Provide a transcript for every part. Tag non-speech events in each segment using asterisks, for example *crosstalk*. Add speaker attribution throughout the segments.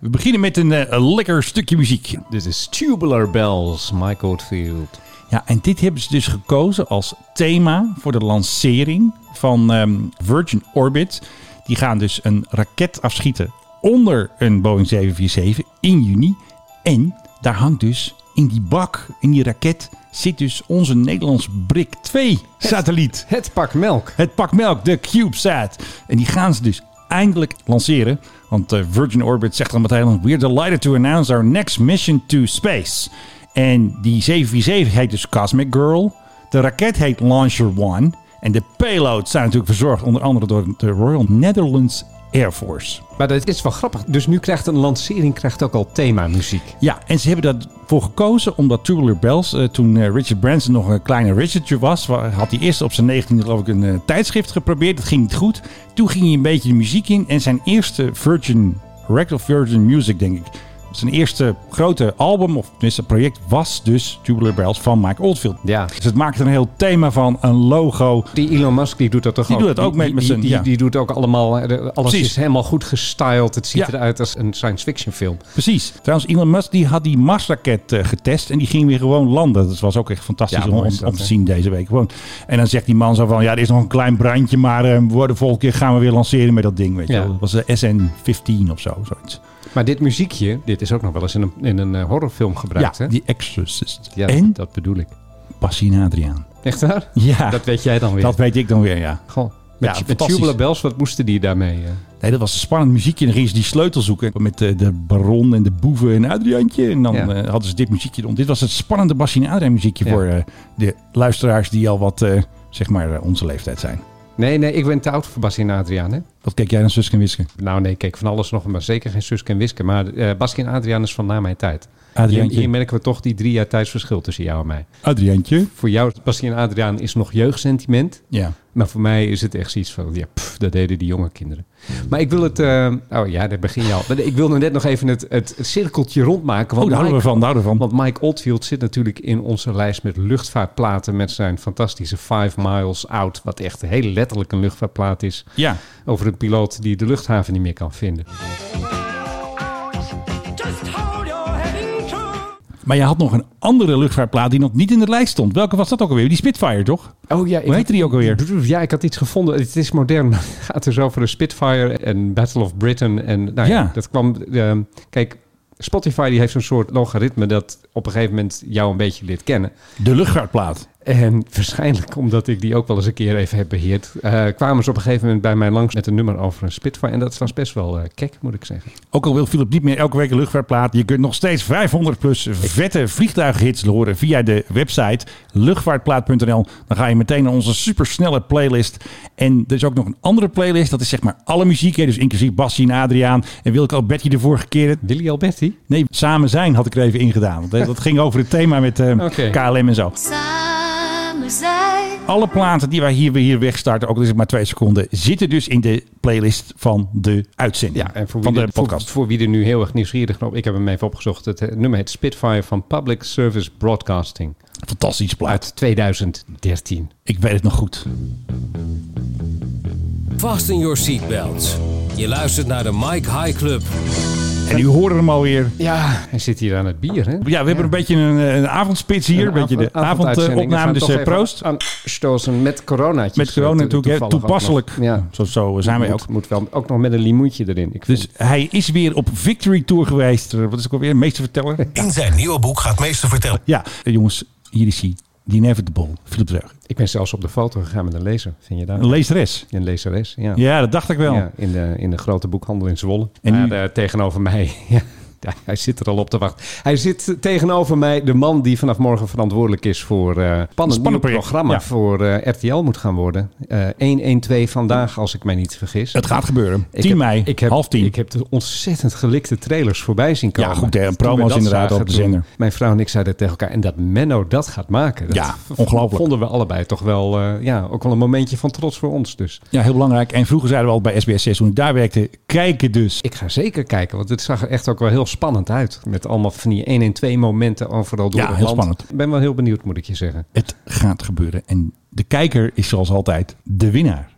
Speaker 1: We beginnen met een, eh, een lekker stukje muziek.
Speaker 2: Dit is Tubular Bells, Michael Field.
Speaker 1: Ja, en dit hebben ze dus gekozen als thema voor de lancering van ehm, Virgin Orbit. Die gaan dus een raket afschieten onder een Boeing 747 in juni. En daar hangt dus in die bak, in die raket, zit dus onze Nederlands Brik 2 satelliet.
Speaker 2: Het pak melk.
Speaker 1: Het pak melk, de CubeSat. En die gaan ze dus eindelijk lanceren. Want eh, Virgin Orbit zegt dan meteen... We're delighted to announce our next mission to space. En die 747 heet dus Cosmic Girl. De raket heet Launcher One. En de payloads zijn natuurlijk verzorgd... onder andere door de Royal Netherlands Air Force.
Speaker 2: Maar dat is wel grappig. Dus nu krijgt een lancering krijgt ook al themamuziek.
Speaker 1: Ja, en ze hebben daarvoor gekozen omdat Tubular Bells, eh, toen eh, Richard Branson nog een kleine Richardje was, wa- had hij eerst op zijn 19e geloof ik een eh, tijdschrift geprobeerd. Dat ging niet goed. Toen ging hij een beetje de muziek in en zijn eerste Virgin, Rectal Virgin Music denk ik, zijn eerste grote album of tenminste project was dus Tubular Bells van Mike Oldfield.
Speaker 2: Ja.
Speaker 1: Dus het maakte een heel thema van een logo.
Speaker 2: Die Elon Musk die doet dat toch
Speaker 1: Die
Speaker 2: ook?
Speaker 1: doet dat ook mee met
Speaker 2: die,
Speaker 1: zijn-
Speaker 2: die,
Speaker 1: ja.
Speaker 2: die doet ook allemaal... eh, Alles
Speaker 1: Precies.
Speaker 2: is helemaal goed gestyled. Het ziet
Speaker 1: Ja.
Speaker 2: eruit als een science fiction film.
Speaker 1: Precies. Trouwens, Elon Musk die had die Mars-raket eh, getest en die ging weer gewoon landen. Dat was ook echt fantastisch
Speaker 2: Ja,
Speaker 1: om,
Speaker 2: mooi
Speaker 1: om
Speaker 2: is dat,
Speaker 1: te
Speaker 2: hè?
Speaker 1: zien deze week. Gewoon. En dan zegt die man zo van, ja, er is nog een klein brandje, maar eh, we worden volgende keer gaan we weer lanceren met dat ding. Weet je
Speaker 2: Ja.
Speaker 1: wel. Dat was de SN15 of zo, zoiets.
Speaker 2: Maar dit muziekje, dit is ook nog wel eens in een, in een eh, horrorfilm gebruikt,
Speaker 1: ja,
Speaker 2: hè?
Speaker 1: die Exorcist.
Speaker 2: Ja,
Speaker 1: en
Speaker 2: dat bedoel ik.
Speaker 1: Bassin Adriaan.
Speaker 2: Echt waar?
Speaker 1: Ja,
Speaker 2: Dat weet jij dan weer.
Speaker 1: dat weet ik dan weer, ja.
Speaker 2: Goh. Met,
Speaker 1: Ja,
Speaker 2: ja, met
Speaker 1: fantastisch.
Speaker 2: Tubular Bells, wat moesten die daarmee? eh?
Speaker 1: Nee, dat was een spannend muziekje. En dan gingen ze die sleutel zoeken. Met eh, de, de baron en de boeven en Adriaantje. En dan
Speaker 2: Ja.
Speaker 1: eh, hadden ze dit muziekje. erom. Dit was het spannende Bassin Adriaan muziekje
Speaker 2: Ja.
Speaker 1: voor eh, de luisteraars die al wat, eh, zeg maar, eh, onze leeftijd zijn.
Speaker 2: Nee, nee, ik ben te oud voor Baskin Adriaan, hè?
Speaker 1: Wat keek jij naar Suske en Wiske?
Speaker 2: Nou nee, kijk, van alles nog, maar zeker geen Suske en Wiske. Maar eh Baskin Adriaan is van na mijn tijd. Hier,
Speaker 1: Adriaantje.
Speaker 2: hier merken we toch die drie jaar tijdsverschil tussen jou en mij.
Speaker 1: Adriaantje.
Speaker 2: Voor jou, Baskin Adriaan, is nog jeugdsentiment.
Speaker 1: Ja.
Speaker 2: Maar voor mij is het echt zoiets van, ja, pff, dat deden die jonge kinderen. Maar ik wil het, eh, oh ja, daar begin je al. Maar ik wil nu net nog even het, het cirkeltje rondmaken.
Speaker 1: Oh,
Speaker 2: Want,
Speaker 1: daar houden we
Speaker 2: Mike,
Speaker 1: van, daar houden we van.
Speaker 2: want Mike Oldfield zit natuurlijk in onze lijst met luchtvaartplaten... met zijn fantastische Five Miles Out, wat echt heel letterlijk een luchtvaartplaat is...
Speaker 1: Ja.
Speaker 2: over een piloot die de luchthaven niet meer kan vinden.
Speaker 3: Just hold your head in true.
Speaker 1: Maar je had nog een andere luchtvaartplaat die nog niet in de lijst stond. Welke was dat ook alweer? Die Spitfire, toch?
Speaker 2: Oh ja, ik
Speaker 1: Hoe heette die ook alweer?
Speaker 2: Brr, Ja, ik had iets gevonden. Het is modern. *laughs* maar Het gaat dus over de Spitfire en Battle of Britain. En nou ja,
Speaker 1: Ja.
Speaker 2: dat kwam... ehm, kijk, Spotify die heeft zo'n soort logaritme dat op een gegeven moment jou een beetje leert kennen.
Speaker 1: De luchtvaartplaat.
Speaker 2: En *laughs* waarschijnlijk, omdat ik die ook wel eens een keer even heb beheerd, eh, kwamen ze op een gegeven moment bij mij langs met een nummer over een Spitfire. En dat was best wel eh kek, moet ik zeggen.
Speaker 1: Ook al wil Philip niet meer elke week een luchtvaartplaat. Je kunt nog steeds 500 plus vette vliegtuighits horen via de website luchtvaartplaat.nl. Dan ga je meteen naar onze supersnelle playlist. En er is ook nog een andere playlist. Dat is zeg maar alle muziek. hè. Dus inclusief Bassie en Adriaan. En Wilke Albertje de vorige keer.
Speaker 2: Willy Alberti?
Speaker 1: Nee, Samen Zijn had ik er even ingedaan. Want eh, dat ging over het thema met eh,
Speaker 2: Oké.
Speaker 1: KLM en zo.
Speaker 4: Samen zijn.
Speaker 1: Alle platen die wij hier, hier wegstarten, ook al is het maar twee seconden, zitten dus in de playlist van de uitzending.
Speaker 2: Ja, en voor
Speaker 1: van
Speaker 2: wie,
Speaker 1: de
Speaker 2: er-
Speaker 1: podcast.
Speaker 2: Voor, voor wie er nu heel erg nieuwsgierig naar Ik heb hem even opgezocht. Het eh, nummer heet Spitfire van Public Service Broadcasting.
Speaker 1: Fantastisch plaat.
Speaker 2: Uit 2013.
Speaker 1: Ik weet het nog goed.
Speaker 5: Fasten your seatbelts. Je luistert naar de Mike High Club.
Speaker 1: En u hoorde hem alweer.
Speaker 2: Ja. Hij zit hier aan het bier, hè?
Speaker 1: Ja, we hebben een beetje een, eh, een avondspits hier. Een beetje de avondopname. Dus eh, proost.
Speaker 2: Aanstoßen met coronaatjes.
Speaker 1: Met corona
Speaker 2: Eh, to-
Speaker 1: natuurlijk. hè,
Speaker 2: toevallig
Speaker 1: Toepasselijk.
Speaker 2: ook nog. Ja.
Speaker 1: Zo, zo eh, zijn wij ook.
Speaker 2: Moet, moet wel, ook nog met een limoentje erin. Ik
Speaker 1: Dus
Speaker 2: vind-
Speaker 1: hij is weer op Victory Tour geweest. Eh, Wat is ook alweer? Meester verteller?
Speaker 2: *laughs*
Speaker 5: In zijn nieuwe boek gaat meester vertellen.
Speaker 1: Ja, eh, jongens, hier is hij. The Inevitable. Philip Dreugen.
Speaker 2: ik ben zelfs op de foto gegaan met een lezer. Vind je dat?
Speaker 1: Een lezeres.
Speaker 2: Een lezeres, ja.
Speaker 1: Ja, dat dacht ik wel.
Speaker 2: Ja, in, de, in de grote boekhandel in Zwolle.
Speaker 1: En
Speaker 2: En
Speaker 1: nu-
Speaker 2: tegenover mij. *laughs* ja, hij zit er al op te wachten. Hij zit tegenover mij, de man die vanaf morgen verantwoordelijk is voor eh spannend nieuw
Speaker 1: project,
Speaker 2: programma
Speaker 1: ja.
Speaker 2: voor eh, RTL moet gaan worden. Eh 112 vandaag, als ik mij niet vergis.
Speaker 1: Het gaat gebeuren. 10
Speaker 2: Ik heb-
Speaker 1: Eh, mei,
Speaker 2: ik heb,
Speaker 1: half 10.
Speaker 2: Ik heb de ontzettend gelikte trailers voorbij zien komen.
Speaker 1: Ja, goed, hè, en
Speaker 2: Toen
Speaker 1: promo's
Speaker 2: we dat
Speaker 1: inderdaad
Speaker 2: zagen,
Speaker 1: op de
Speaker 2: toen-
Speaker 1: zender.
Speaker 2: Mijn vrouw en ik zeiden tegen elkaar. En dat Menno dat gaat maken. Dat
Speaker 1: Ja, ongelooflijk.
Speaker 2: Vonden we allebei toch wel, eh, ja, ook wel een momentje van trots voor ons. Dus
Speaker 1: Ja, heel belangrijk. En vroeger zeiden we al bij SBS 6 toen ik daar werkte, kijken dus.
Speaker 2: Ik ga zeker kijken, want het zag er echt ook wel heel spannend uit. Met allemaal van die 1 en 2 momenten overal door
Speaker 1: Ja,
Speaker 2: het
Speaker 1: heel
Speaker 2: land.
Speaker 1: spannend.
Speaker 2: Ik ben wel heel benieuwd, moet ik je zeggen.
Speaker 1: Het gaat gebeuren. En de kijker is zoals altijd de winnaar.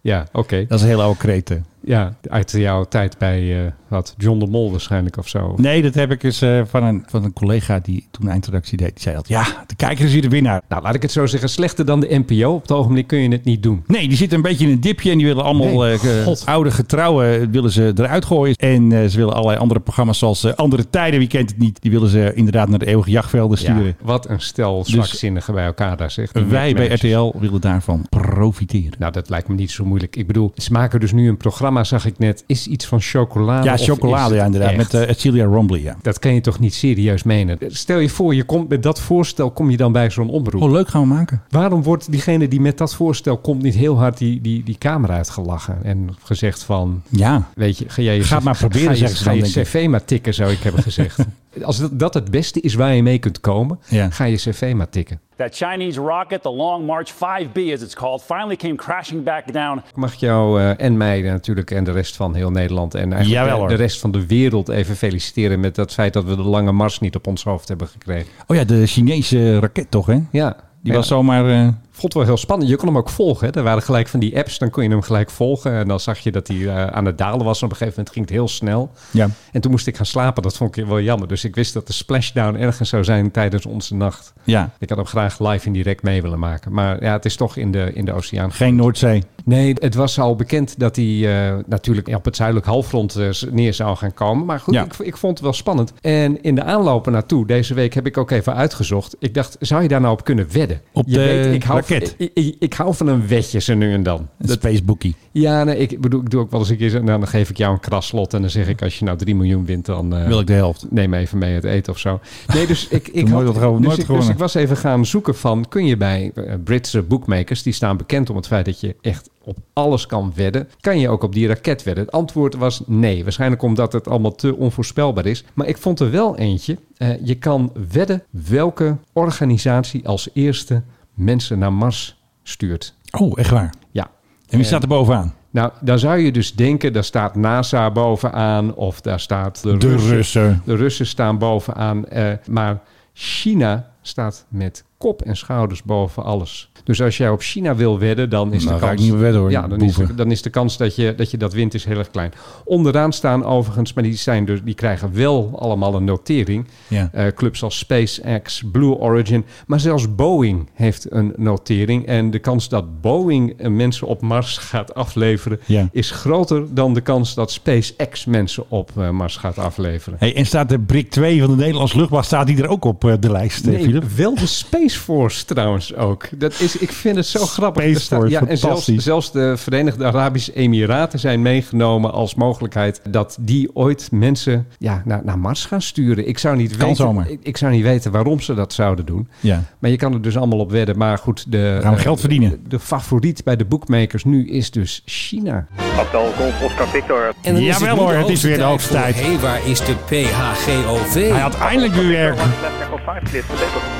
Speaker 2: Ja, oké.
Speaker 1: Dat is een hele oude eh. kreten.
Speaker 2: Ja, uit jouw tijd bij eh, wat John de Mol waarschijnlijk of zo.
Speaker 1: Nee, dat heb ik eens eh, van, een, van een collega die toen eindredactie deed. Die zei altijd, ja, de kijker is hier de winnaar.
Speaker 2: Nou, laat ik het zo zeggen. Slechter dan de NPO. Op het ogenblik kun je het niet doen.
Speaker 1: Nee, die zitten een beetje in een dipje en die willen allemaal
Speaker 2: Nee,
Speaker 1: eh, ge-
Speaker 2: God.
Speaker 1: oude getrouwen eh, willen ze eruit gooien. En eh, ze willen allerlei andere programma's zoals eh, Andere Tijden, wie kent het niet. Die willen ze inderdaad naar de eeuwige jachtvelden sturen.
Speaker 2: Ja, wat een stel zwakzinnigen bij elkaar daar zegt. Die
Speaker 1: Dus Wij bij
Speaker 2: netmanagers.
Speaker 1: RTL willen daarvan profiteren.
Speaker 2: Nou, dat lijkt me niet zo moeilijk. Ik bedoel, ze maken dus nu een programma, zag ik net. Is iets van chocolade?
Speaker 1: Ja,
Speaker 2: of is
Speaker 1: chocolade
Speaker 2: het
Speaker 1: ja, inderdaad.
Speaker 2: echt?
Speaker 1: Met eh, Celia Rombly, ja.
Speaker 2: Dat kan je toch niet serieus menen? Stel je voor, je komt met dat voorstel kom je dan bij zo'n omroep.
Speaker 1: Oh, leuk gaan we maken.
Speaker 2: Waarom wordt diegene die met dat voorstel komt niet heel hard die, die, die camera uitgelachen en gezegd van...
Speaker 1: Ja.
Speaker 2: Weet je, ga jij je,
Speaker 1: Ga het maar proberen,
Speaker 2: ga je,
Speaker 1: zeggen ze
Speaker 2: ga
Speaker 1: dan,
Speaker 2: je
Speaker 1: denk ik.
Speaker 2: cv maar tikken, zou ik
Speaker 1: *laughs*
Speaker 2: hebben gezegd. Als dat, dat het beste is waar je mee kunt komen,
Speaker 1: Ja.
Speaker 2: ga je cv maar tikken.
Speaker 6: That Chinese rocket, the Long March 5B as it's called, finally came crashing back down
Speaker 2: Ik mag jou eh, en mij natuurlijk en de rest van heel Nederland en eigenlijk
Speaker 1: Jawel, hoor.
Speaker 2: de rest van de wereld even feliciteren met dat feit dat we de lange mars niet op ons hoofd hebben gekregen.
Speaker 1: Oh ja, de Chinese raket toch, hè?
Speaker 2: Ja,
Speaker 1: Die
Speaker 2: Ja.
Speaker 1: was zomaar... eh,
Speaker 2: Vond wel heel spannend. Je kon hem ook volgen. Hè? Er waren gelijk van die apps, dan kon je hem gelijk volgen. En dan zag je dat hij eh, aan het dalen was. En op een gegeven moment ging het heel snel.
Speaker 1: Ja.
Speaker 2: En toen moest ik gaan slapen. Dat vond ik wel jammer. Dus ik wist dat de splashdown ergens zou zijn tijdens onze nacht.
Speaker 1: ja.
Speaker 2: Ik had hem graag live in direct mee willen maken. Maar ja, het is toch in de, in de oceaan.
Speaker 1: Geen Noordzee.
Speaker 2: Nee, het was al bekend dat hij eh, natuurlijk op het zuidelijk halfrond eh, neer zou gaan komen. Maar goed,
Speaker 1: Ja.
Speaker 2: ik, ik vond het wel spannend. En in de aanlopen naartoe, deze week heb ik ook even uitgezocht. Ik dacht, zou je daar nou op kunnen wedden?
Speaker 1: Op
Speaker 2: je
Speaker 1: de
Speaker 2: ik hou,
Speaker 1: raket.
Speaker 2: Ik, ik, ik hou van een wedje zo nu en dan.
Speaker 1: Dat Facebookie.
Speaker 2: Ja, nee, ik bedoel, ik doe ook wel eens een keer zo- nou, dan geef ik jou een kraslot en dan zeg ik, als je nou 3 miljoen wint, dan... eh,
Speaker 1: Wil ik de helft.
Speaker 2: Neem even mee het eten of zo. Nee, dus
Speaker 1: *laughs*
Speaker 2: ik, ik,
Speaker 1: Nooit wat gewoon,
Speaker 2: dus
Speaker 1: nooit
Speaker 2: ik, dus
Speaker 1: gewonnen.
Speaker 2: ik was even gaan zoeken van... kun je bij eh, Britse bookmakers, die staan bekend om het feit dat je echt op alles kan wedden... kan je ook op die raket wedden? Het antwoord was nee. Waarschijnlijk omdat het allemaal te onvoorspelbaar is. Maar ik vond er wel eentje. Eh, je kan wedden welke organisatie als eerste mensen naar Mars stuurt.
Speaker 1: Oh, echt waar.
Speaker 2: Ja,
Speaker 1: En wie staat er bovenaan?
Speaker 2: nou, dan zou je dus denken, daar staat NASA bovenaan of daar staat de,
Speaker 1: Russen.
Speaker 2: De Russen staan bovenaan, eh, maar China staat met kop en schouders boven alles. Dus als jij op China wil wedden, dan is
Speaker 1: Nou,
Speaker 2: de
Speaker 1: ga
Speaker 2: kans...
Speaker 1: ik niet meer wedden, hoor,
Speaker 2: Ja, dan is, de,
Speaker 1: boeven.
Speaker 2: dan is de kans dat je, dat je dat wint is heel erg klein. Onderaan staan overigens, maar die, zijn dus, die krijgen wel allemaal een notering.
Speaker 1: Ja.
Speaker 2: Eh, clubs als SpaceX, Blue Origin, maar zelfs Boeing heeft een notering. En de kans dat Boeing eh, mensen op Mars *laughs* gaat afleveren
Speaker 1: Ja.
Speaker 2: is groter dan de kans dat SpaceX mensen op eh, Mars gaat afleveren.
Speaker 1: Hey, en staat de BRIC 2 van de Nederlandse luchtmacht staat die er ook op eh, de lijst, eh,
Speaker 2: Nee,
Speaker 1: Philip?
Speaker 2: wel de Space Force trouwens ook. Dat is, ik vind het zo grappig.
Speaker 1: Space
Speaker 2: Er staat-
Speaker 1: Force,
Speaker 2: ja, en zelfs,
Speaker 1: fantastisch.
Speaker 2: zelfs de Verenigde Arabische Emiraten zijn meegenomen als mogelijkheid dat die ooit mensen ja, naar, naar Mars gaan sturen. Ik zou, niet
Speaker 1: Kan
Speaker 2: weten,
Speaker 1: zomaar.
Speaker 2: ik, ik zou niet weten waarom ze dat zouden doen.
Speaker 1: Ja.
Speaker 2: Maar je kan er dus allemaal op wedden. Maar goed, de,
Speaker 1: Gaan we
Speaker 2: eh,
Speaker 1: geld verdienen.
Speaker 2: de, de favoriet bij de bookmakers nu is dus China.
Speaker 7: Abdel Golf Oscar Victor.
Speaker 5: En dan is
Speaker 1: Jawel
Speaker 5: nu de
Speaker 1: hoor, het is weer de
Speaker 5: hoogste tijd
Speaker 1: hoogste
Speaker 5: voor, Hé, waar is de PHGOV?
Speaker 1: Hij had eindelijk weer werk.
Speaker 7: Left of 5 clear for takeoff.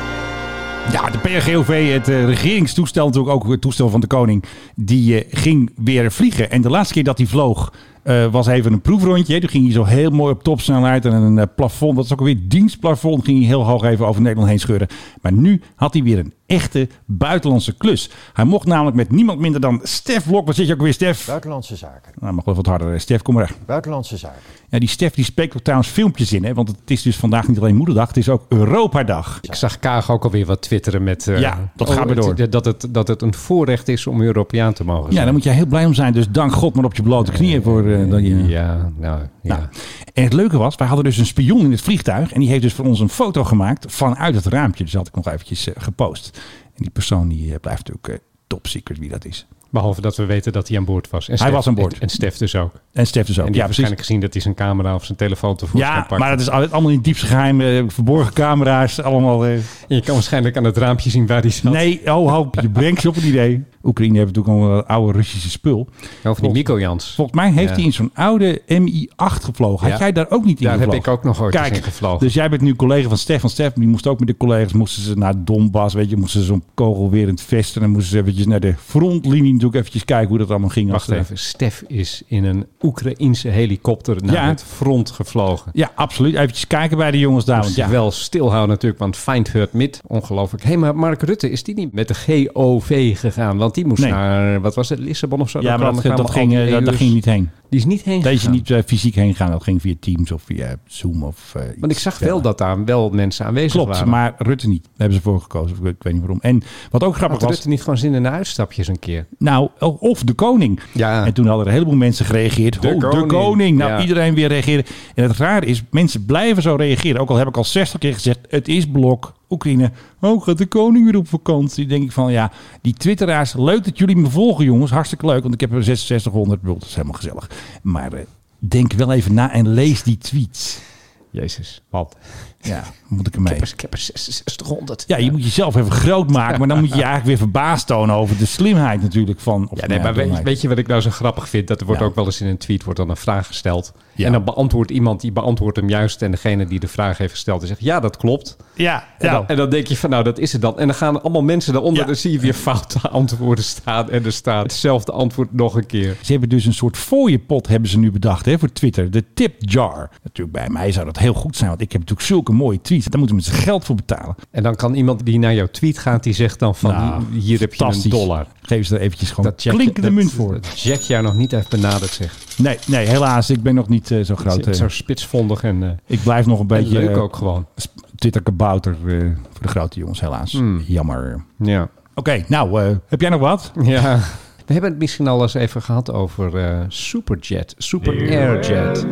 Speaker 1: Ja, de PRGOV, het eh, regeringstoestel, natuurlijk ook het toestel van de koning, die eh, ging weer vliegen. En de laatste keer dat hij vloog, eh, was even een proefrondje. Toen ging hij zo heel mooi op topsnelheid en een eh, plafond, dat is ook alweer dienstplafond, ging hij heel hoog even over Nederland heen scheuren. Maar nu had hij weer een echte buitenlandse klus. Hij mocht namelijk met niemand minder dan Stef Blok. Wat zit je ook weer, Stef?
Speaker 8: Buitenlandse zaken.
Speaker 1: Nou, mag wel wat harder. hè. Stef, kom maar. aan.
Speaker 8: Buitenlandse zaken.
Speaker 1: Ja, die Stef die spreekt ook trouwens filmpjes in, hè? want het is dus vandaag niet alleen Moederdag, het is ook Europadag.
Speaker 2: Ik zag Kaag ook alweer wat twitteren met... eh,
Speaker 1: Ja, dat gaat maar door.
Speaker 2: het- Dat het, dat het een voorrecht is om Europeaan te mogen
Speaker 1: Ja,
Speaker 2: zijn.
Speaker 1: daar moet je heel blij om zijn. Dus dank God maar op je blote knieën voor eh, dat je...
Speaker 2: Ja, nou, ja.
Speaker 1: Nou, en het leuke was, wij hadden dus een spion in het vliegtuig. En die heeft dus voor ons een foto gemaakt vanuit het raampje. Dus dat had ik nog eventjes eh, gepost. En die persoon die eh, blijft natuurlijk eh, top secret wie dat is.
Speaker 2: Behalve dat we weten dat hij aan boord was. En
Speaker 1: Hij was aan boord.
Speaker 2: En, en Stef dus ook. En die
Speaker 1: En Stef dus ook.
Speaker 2: heeft
Speaker 1: Ja, precies.
Speaker 2: waarschijnlijk gezien dat hij zijn camera of zijn telefoon tevoorschijn
Speaker 1: Ja,
Speaker 2: pakt.
Speaker 1: maar dat is al- allemaal in diepste geheim. eh, verborgen camera's, allemaal... eh,
Speaker 2: En je kan waarschijnlijk aan het raampje zien waar hij zat.
Speaker 1: nee, oh, ho, je brengt ze op een idee. Oekraïne hebben natuurlijk al een oude Russische spul.
Speaker 2: Of die Nico Jans.
Speaker 1: Volgens mij heeft
Speaker 2: Ja.
Speaker 1: hij in zo'n oude MI8 gevlogen. Had
Speaker 2: Ja.
Speaker 1: jij daar ook niet in
Speaker 2: Daar heb
Speaker 1: gevlogen?
Speaker 2: ik ook nog ooit
Speaker 1: Kijk,
Speaker 2: eens in gevlogen.
Speaker 1: Dus jij bent nu collega van Stef. Van Stef, die moest ook met de collega's moesten ze naar Donbass. Weet je, moesten ze zo'n kogelwerend vest. En dan moesten ze eventjes naar de frontlinie natuurlijk eventjes kijken hoe dat allemaal ging.
Speaker 2: Wacht
Speaker 1: Als, eh,
Speaker 2: even, Stef is in een Oekraïense helikopter naar
Speaker 1: Ja.
Speaker 2: het front gevlogen.
Speaker 1: Ja, absoluut. Eventjes kijken bij de jongens daar. Want
Speaker 2: Moest je
Speaker 1: ja,
Speaker 2: wel stilhouden natuurlijk, want find hurt mid. Ongelooflijk. Hé, hey, maar Mark Rutte, is die niet met de GOV gegaan? Want die moest
Speaker 1: Nee.
Speaker 2: naar, wat was het, Lissabon of zo?
Speaker 1: ja
Speaker 2: Daar
Speaker 1: maar dat,
Speaker 2: kwamen-
Speaker 1: dat,
Speaker 2: kwamen al
Speaker 1: ging, eh,
Speaker 2: die
Speaker 1: dat, dat
Speaker 2: EU's.
Speaker 1: ging niet heen.
Speaker 2: Die is niet heen
Speaker 1: Deze
Speaker 2: gegaan.
Speaker 1: niet eh, fysiek heen gaan. Dat ging via Teams of via Zoom of eh,
Speaker 2: Want ik
Speaker 1: iets
Speaker 2: zag wel
Speaker 1: verder.
Speaker 2: dat daar wel mensen aanwezig
Speaker 1: Klopt,
Speaker 2: waren.
Speaker 1: maar Rutte niet. Daar hebben ze voor gekozen. Ik, ik weet niet waarom. En wat ook grappig
Speaker 2: Had
Speaker 1: was...
Speaker 2: Rutte niet gewoon zin in de uitstapjes een keer?
Speaker 1: Nou, of de koning.
Speaker 2: Ja.
Speaker 1: En toen hadden er een heleboel mensen gereageerd.
Speaker 2: De
Speaker 1: oh,
Speaker 2: koning.
Speaker 1: de koning. Nou,
Speaker 2: Ja.
Speaker 1: iedereen weer reageren. En het raar is, mensen blijven zo reageren. Ook al heb ik al 60 keer gezegd, het is blok. Oekraïne, oh, gaat de koning weer op vakantie? Denk ik van, ja, die twitteraars. Leuk dat jullie me volgen, jongens. Hartstikke leuk, want ik heb er 6600. bedoel, Dat is helemaal gezellig. Maar eh, denk wel even na en lees die tweets.
Speaker 2: Jezus, wat?
Speaker 1: Ja, moet ik ermee.
Speaker 2: Ik heb er 6600.
Speaker 1: Ja, je moet jezelf even groot maken. Maar dan moet je je eigenlijk weer verbaasd tonen over de slimheid natuurlijk van... of
Speaker 2: Ja,
Speaker 1: nou
Speaker 2: nee, maar weet,
Speaker 1: domheid.
Speaker 2: weet je wat ik nou zo grappig vind? Dat er wordt
Speaker 1: Ja.
Speaker 2: ook wel eens in een tweet wordt dan een vraag gesteld.
Speaker 1: Ja.
Speaker 2: En dan beantwoordt iemand, die beantwoordt hem juist. En degene die de vraag heeft gesteld, die zegt ja, dat klopt.
Speaker 1: Ja,
Speaker 2: En,
Speaker 1: ja.
Speaker 2: dan, en dan denk je van nou, dat is het dan. En dan gaan allemaal mensen daaronder.
Speaker 1: Ja.
Speaker 2: Dan zie je weer foute antwoorden staan. En er staat hetzelfde antwoord nog een keer.
Speaker 1: Ze hebben dus een soort fooienpot hebben ze nu bedacht hè, voor Twitter. De tip jar. Natuurlijk bij mij zou dat heel goed zijn. Want ik heb natuurlijk zulke mooie tweets. Daar moeten mensen geld voor betalen.
Speaker 2: En dan kan iemand die naar jouw tweet gaat, die zegt dan van
Speaker 1: Nou,
Speaker 2: hier heb je een
Speaker 1: fantastisch.
Speaker 2: dollar.
Speaker 1: Geef ze er eventjes gewoon
Speaker 2: check je-
Speaker 1: klinkende
Speaker 2: dat-
Speaker 1: munt voor.
Speaker 2: Dat Jack jou nog niet heeft benaderd, zeg.
Speaker 1: Nee, nee, helaas. Ik ben nog niet eh, zo groot. eh.
Speaker 2: Zo spitsvondig en, eh,
Speaker 1: ik blijf nog een
Speaker 2: en
Speaker 1: beetje
Speaker 2: leuk
Speaker 1: eh,
Speaker 2: ook gewoon.
Speaker 1: sp- Twitter-kabouter eh, voor de grote jongens, helaas.
Speaker 2: Hmm.
Speaker 1: Jammer. Oké,
Speaker 2: Ja.
Speaker 1: nou, eh, heb jij nog wat?
Speaker 2: Ja. *laughs* We hebben het misschien al eens even gehad over eh, Superjet, Super Airjet.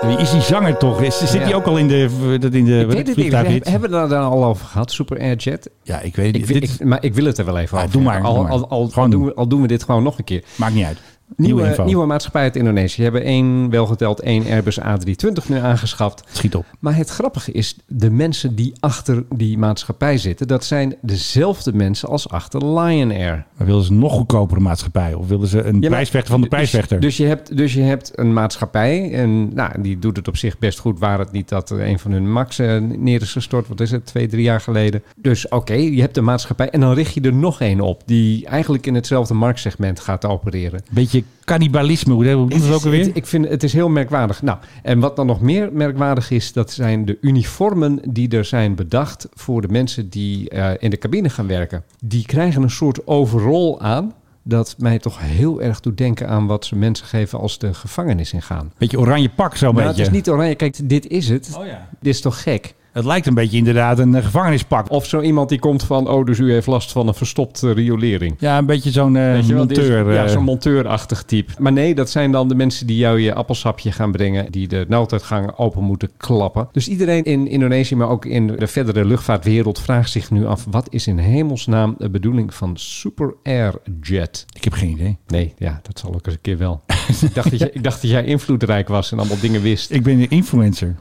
Speaker 1: Wie Eh, is die zanger toch? Is, zit
Speaker 2: Ja.
Speaker 1: die ook al in de, dat in de
Speaker 2: Ik weet het niet, we
Speaker 1: vliegtuig?
Speaker 2: hebben we daar dan al over gehad, Super Airjet?
Speaker 1: Ja, ik weet het
Speaker 2: Ik,
Speaker 1: niet.
Speaker 2: wil-
Speaker 1: Dit
Speaker 2: ik, maar ik wil het er wel even
Speaker 1: Ah,
Speaker 2: over
Speaker 1: doe maar,
Speaker 2: hebben.
Speaker 1: doe
Speaker 2: Al,
Speaker 1: maar.
Speaker 2: al, al,
Speaker 1: Gewoon
Speaker 2: al doen
Speaker 1: doen.
Speaker 2: we, al doen we dit gewoon nog een keer.
Speaker 1: maakt niet uit. Nieuwe,
Speaker 2: Nieuwe,
Speaker 1: info.
Speaker 2: nieuwe maatschappij uit Indonesië hebben één, wel geteld één Airbus A320 nu aangeschaft.
Speaker 1: Schiet op.
Speaker 2: Maar het grappige is, de mensen die achter die maatschappij zitten, dat zijn dezelfde mensen als achter Lion Air.
Speaker 1: Maar willen ze een nog goedkopere maatschappij? Of willen ze een
Speaker 2: Ja, maar-
Speaker 1: prijsvechter van de prijsvechter?
Speaker 2: Dus, dus, je hebt, dus je hebt een maatschappij en nou, die doet het op zich best goed. Waar het niet dat eh, een van hun max eh, neer is gestort. Wat is het, twee, drie jaar geleden. Dus oké, je hebt een maatschappij en dan richt je er nog één op. Die eigenlijk in hetzelfde marktsegment gaat opereren.
Speaker 1: beetje cannibalisme, hoe hoe doen ze dat ook alweer?
Speaker 2: Het- Ik vind het is heel merkwaardig. Nou, en wat dan nog meer merkwaardig is, dat zijn de uniformen die er zijn bedacht voor de mensen die eh, in de cabine gaan werken. Die krijgen een soort overall aan. Dat mij toch heel erg doet denken aan wat ze mensen geven als de gevangenis ingaan.
Speaker 1: Beetje oranje pak zo'n
Speaker 2: Maar Nou, het
Speaker 1: beetje.
Speaker 2: is niet oranje. Kijk, dit is het.
Speaker 1: Oh ja.
Speaker 2: Dit is toch gek?
Speaker 1: Het lijkt een beetje inderdaad een eh, gevangenispak.
Speaker 2: Of zo iemand die komt van, oh, dus u heeft last van een verstopte riolering.
Speaker 1: Ja, een beetje zo'n eh,
Speaker 2: Weet je wel, dit is-
Speaker 1: monteur.
Speaker 2: ja,
Speaker 1: eh,
Speaker 2: zo'n monteurachtig type. Maar nee, dat zijn dan de mensen die jou je appelsapje gaan brengen. Die de nooduitgangen open moeten klappen. Dus iedereen in Indonesië, maar ook in de verdere luchtvaartwereld... vraagt zich nu af, wat is in hemelsnaam de bedoeling van Super Airjet?
Speaker 1: ik heb geen idee.
Speaker 2: Nee, ja, dat zal ook eens een keer
Speaker 1: *laughs*
Speaker 2: wel. ik, dacht dat jij, ik dacht dat jij invloedrijk was en allemaal dingen wist.
Speaker 1: Ik ben een influencer.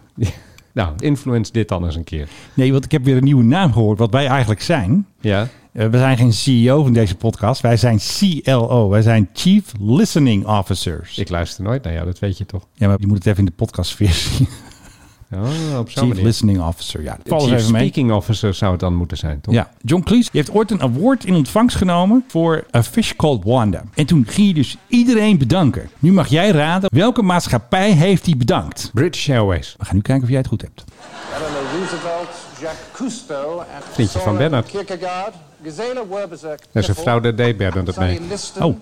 Speaker 2: Nou, influence dit dan eens een keer.
Speaker 1: Nee, want ik heb weer een nieuwe naam gehoord, wat wij eigenlijk zijn.
Speaker 2: Ja,
Speaker 1: Eh, we zijn geen CEO van deze podcast. Wij zijn CLO. Wij zijn Chief Listening Officers.
Speaker 2: ik luister nooit naar jou, dat weet je toch?
Speaker 1: Ja, maar je moet het even in de podcast zien.
Speaker 2: Oh, op zo'n
Speaker 1: Chief
Speaker 2: manier.
Speaker 1: Listening Officer, ja. Val eens
Speaker 2: Chief
Speaker 1: even mee.
Speaker 2: Speaking Officer zou het dan moeten zijn, toch?
Speaker 1: Ja, John Cleese die heeft ooit een award in ontvangst genomen voor A Fish Called Wanda. En toen ging je dus iedereen bedanken. Nu mag jij raden welke maatschappij heeft hij bedankt.
Speaker 2: British Airways.
Speaker 1: We gaan nu kijken of jij het goed hebt.
Speaker 8: Eleanor Roosevelt, Jacques Cousteau en
Speaker 2: Vriendje van
Speaker 8: Soren
Speaker 2: Bernhard.
Speaker 8: Kierkegaard, Gisela Werbezer,
Speaker 2: Dat is een vrouw, daar deed Bernhard het mee.
Speaker 1: Oh.
Speaker 8: Oh.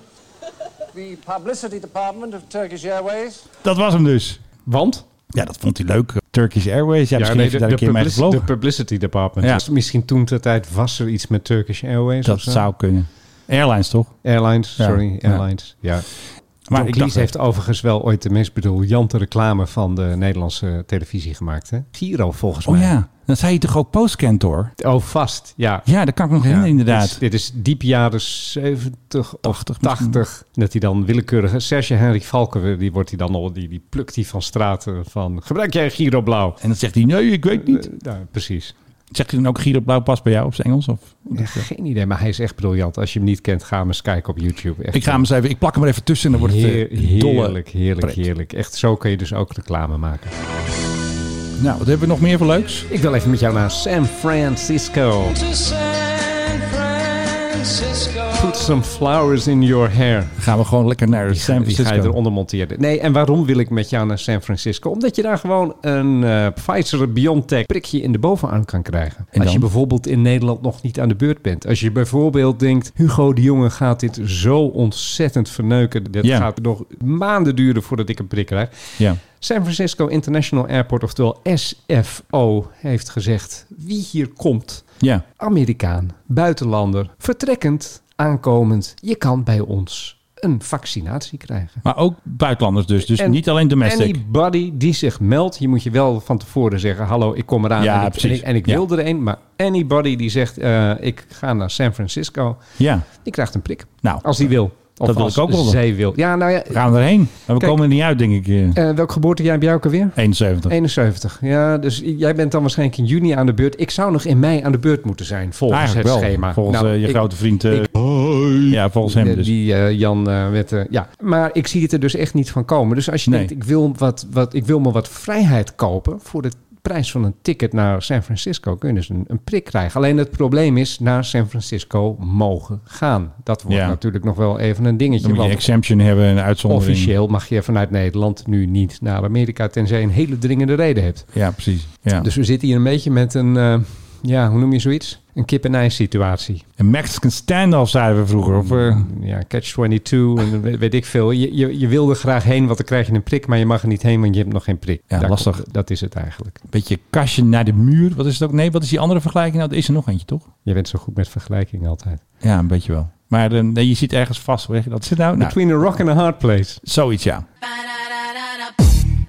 Speaker 8: The publicity department of Turkish Airways.
Speaker 1: Dat was hem dus.
Speaker 2: Want?
Speaker 1: Ja, dat vond hij leuk. Turkish Airways. Ja, misschien
Speaker 2: nee,
Speaker 1: heeft hij daar een keer mee
Speaker 2: publici- de
Speaker 1: gevlogen.
Speaker 2: publicity department.
Speaker 1: Ja.
Speaker 2: Dus misschien toen ter tijd was er iets met Turkish Airways
Speaker 1: Dat
Speaker 2: of zo.
Speaker 1: zou kunnen. Airlines toch?
Speaker 2: Airlines,
Speaker 1: Ja.
Speaker 2: sorry,
Speaker 1: Ja.
Speaker 2: Airlines. Ja.
Speaker 1: Maar
Speaker 2: John
Speaker 1: ik dacht
Speaker 2: Cleese heeft overigens wel ooit de meest briljante reclame van de Nederlandse televisie gemaakt. Hè? Giro volgens
Speaker 1: Oh
Speaker 2: mij.
Speaker 1: ja, dan zei je toch ook postkantoor?
Speaker 2: Oh, vast. Ja.
Speaker 1: Ja, dat kan ik me nog herinneren
Speaker 2: Dit is,
Speaker 1: inderdaad.
Speaker 2: dit is diep jaren 70 of
Speaker 1: 80 misschien.
Speaker 2: 80. Dat hij dan willekeurig... Serge Henrik Valken, die, wordt hij dan al, die, die plukt hij van straten van... Gebruik jij Giro Blauw?
Speaker 1: En dan zegt hij, nee, ik weet niet.
Speaker 2: Eh, nou, precies.
Speaker 1: Zegt hij dan ook Giro Blauw pas bij jou op zijn Engels? Of?
Speaker 2: Ja, geen idee, maar hij is echt briljant. Als je hem niet kent, ga hem eens kijken op YouTube. Echt
Speaker 1: Ik ga hem eens even, ik plak hem er even tussen en dan wordt het
Speaker 2: Heer-
Speaker 1: eh, een dolle
Speaker 2: heerlijk, heerlijk,
Speaker 1: pret.
Speaker 2: heerlijk. Echt, zo kun je dus ook reclame maken.
Speaker 1: Nou, wat hebben we nog meer voor leuks?
Speaker 2: Ik wil even met jou naar San Francisco.
Speaker 3: To San Francisco.
Speaker 2: Put some flowers in your hair.
Speaker 1: Dan gaan we gewoon lekker naar San
Speaker 2: Die ga je
Speaker 1: Francisco.
Speaker 2: eronder monteren. Nee, en waarom wil ik met jou naar San Francisco? Omdat je daar gewoon een eh Pfizer-BioNTech prikje in de bovenarm kan krijgen.
Speaker 1: En
Speaker 2: als je
Speaker 1: dan?
Speaker 2: bijvoorbeeld in Nederland nog niet aan de beurt bent. Als je bijvoorbeeld denkt, Hugo de Jonge gaat dit zo ontzettend verneuken. Dit
Speaker 1: Ja.
Speaker 2: gaat nog maanden duren voordat ik een prik krijg.
Speaker 1: Ja.
Speaker 2: San Francisco International Airport, oftewel SFO, heeft gezegd... wie hier komt
Speaker 1: ja.
Speaker 2: Amerikaan, buitenlander, vertrekkend, aankomend. Je kan bij ons een vaccinatie krijgen.
Speaker 1: Maar ook buitenlanders dus. Dus
Speaker 2: En
Speaker 1: niet alleen domestic.
Speaker 2: Anybody die zich meldt, je moet je wel van tevoren zeggen: Hallo, ik kom eraan.
Speaker 1: Ja,
Speaker 2: en ik, en
Speaker 1: precies.
Speaker 2: ik, en ik
Speaker 1: Ja.
Speaker 2: wil er een. Maar anybody die zegt: eh, Ik ga naar San Francisco,
Speaker 1: Ja.
Speaker 2: die krijgt een prik.
Speaker 1: Nou,
Speaker 2: als die wil. Of
Speaker 1: dat wil
Speaker 2: als
Speaker 1: ik ook wel.
Speaker 2: zij wil. Ja, nou ja.
Speaker 1: We gaan erheen. Maar we
Speaker 2: Kijk.
Speaker 1: komen er niet uit, denk ik. eh,
Speaker 2: eh, welk geboortejaar ben jij ook alweer?
Speaker 1: 71.
Speaker 2: 71. Ja, dus jij bent dan waarschijnlijk in juni aan de beurt. Ik zou nog in mei aan de beurt moeten zijn, volgens
Speaker 1: Eigenlijk
Speaker 2: het
Speaker 1: wel.
Speaker 2: schema.
Speaker 1: Volgens
Speaker 2: Nou,
Speaker 1: eh, je
Speaker 2: ik-
Speaker 1: grote vriend. eh,
Speaker 2: ik-
Speaker 1: ja, volgens hem
Speaker 2: Eh,
Speaker 1: dus.
Speaker 2: Die eh, Jan eh met, eh, ja. Maar ik zie het er dus echt niet van komen. Dus als je
Speaker 1: Nee.
Speaker 2: denkt, ik wil, wat, wat, ik wil me wat vrijheid kopen voor de prijs van een ticket naar San Francisco, kun je dus een, een prik krijgen. Alleen het probleem is, naar San Francisco mogen gaan. Dat wordt
Speaker 1: Ja.
Speaker 2: natuurlijk nog wel even een dingetje.
Speaker 1: Dan moet je
Speaker 2: want
Speaker 1: exemption hebben, een uitzondering.
Speaker 2: officieel mag je vanuit Nederland nu niet naar Amerika, tenzij je een hele dringende reden hebt.
Speaker 1: Ja, precies. Ja.
Speaker 2: Dus we zitten hier een beetje met een, eh, ja, hoe noem je zoiets? Een kip-en-ei situatie.
Speaker 1: Een Mexican standoff zeiden we vroeger. Of, eh,
Speaker 2: ja, catch 22 en we- weet ik veel. Je, je, je wil er graag heen, want dan krijg je een prik, maar je mag er niet heen, want je hebt nog geen prik.
Speaker 1: Ja,
Speaker 2: Daar-
Speaker 1: lastig.
Speaker 2: Dat is het eigenlijk.
Speaker 1: een beetje kastje naar de muur. Wat is het ook? Nee, wat is die andere vergelijking? Nou, er is er nog eentje, toch?
Speaker 2: Je bent zo goed met vergelijkingen altijd.
Speaker 1: Ja, een beetje wel. Maar eh, nee, je zit ergens vast. Hoe zeg je dat zit nou? nou
Speaker 2: Between a rock and a hard place.
Speaker 1: zoiets, ja.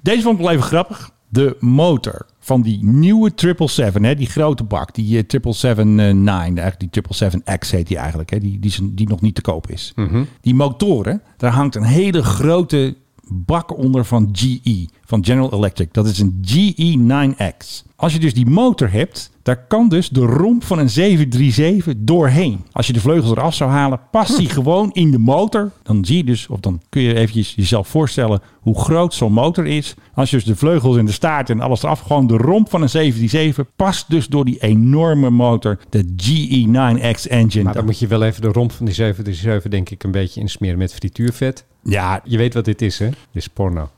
Speaker 1: Deze vond ik wel even grappig. De motor van die nieuwe 777, hè, die grote bak. Die eh, 779, eigenlijk die 777X heet die eigenlijk. Hè, die, die, is- die nog niet te koop is. Die motoren, daar hangt een hele grote bak onder van GE. Van General Electric. Dat is een GE9X. Als je dus die motor hebt, daar kan dus de romp van een 737 doorheen. Als je de vleugels eraf zou halen, past die gewoon in de motor. Dan zie je dus, of dan kun je eventjes jezelf voorstellen hoe groot zo'n motor is. Als je dus de vleugels en de staart en alles eraf, gewoon de romp van een 737 past dus door die enorme motor, de GE9X engine.
Speaker 2: Maar Nou, dan moet je wel even de romp van die 737 denk ik een beetje insmeren met frituurvet.
Speaker 1: Ja,
Speaker 2: Je weet wat dit is, hè? Dit is porno.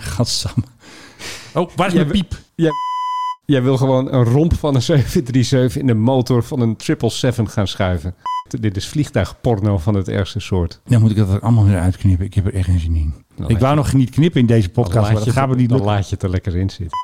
Speaker 1: gadsamme. Oh, waar is
Speaker 2: Ja,
Speaker 1: mijn
Speaker 2: we-
Speaker 1: piep?
Speaker 2: Jij wil gewoon een romp van een *laughs* 737 in de motor van een 777 gaan schuiven. Dit is vliegtuigporno van het ergste soort.
Speaker 1: Dan moet ik dat er allemaal weer uitknippen. Ik heb er echt geen zin in.
Speaker 2: laat
Speaker 1: ik wou nog niet knippen in deze
Speaker 2: Dan
Speaker 1: podcast,
Speaker 2: laat
Speaker 1: maar
Speaker 2: je
Speaker 1: dat gaat
Speaker 2: het-
Speaker 1: me niet
Speaker 2: dan
Speaker 1: lukken.
Speaker 2: laat je het er lekker in zitten.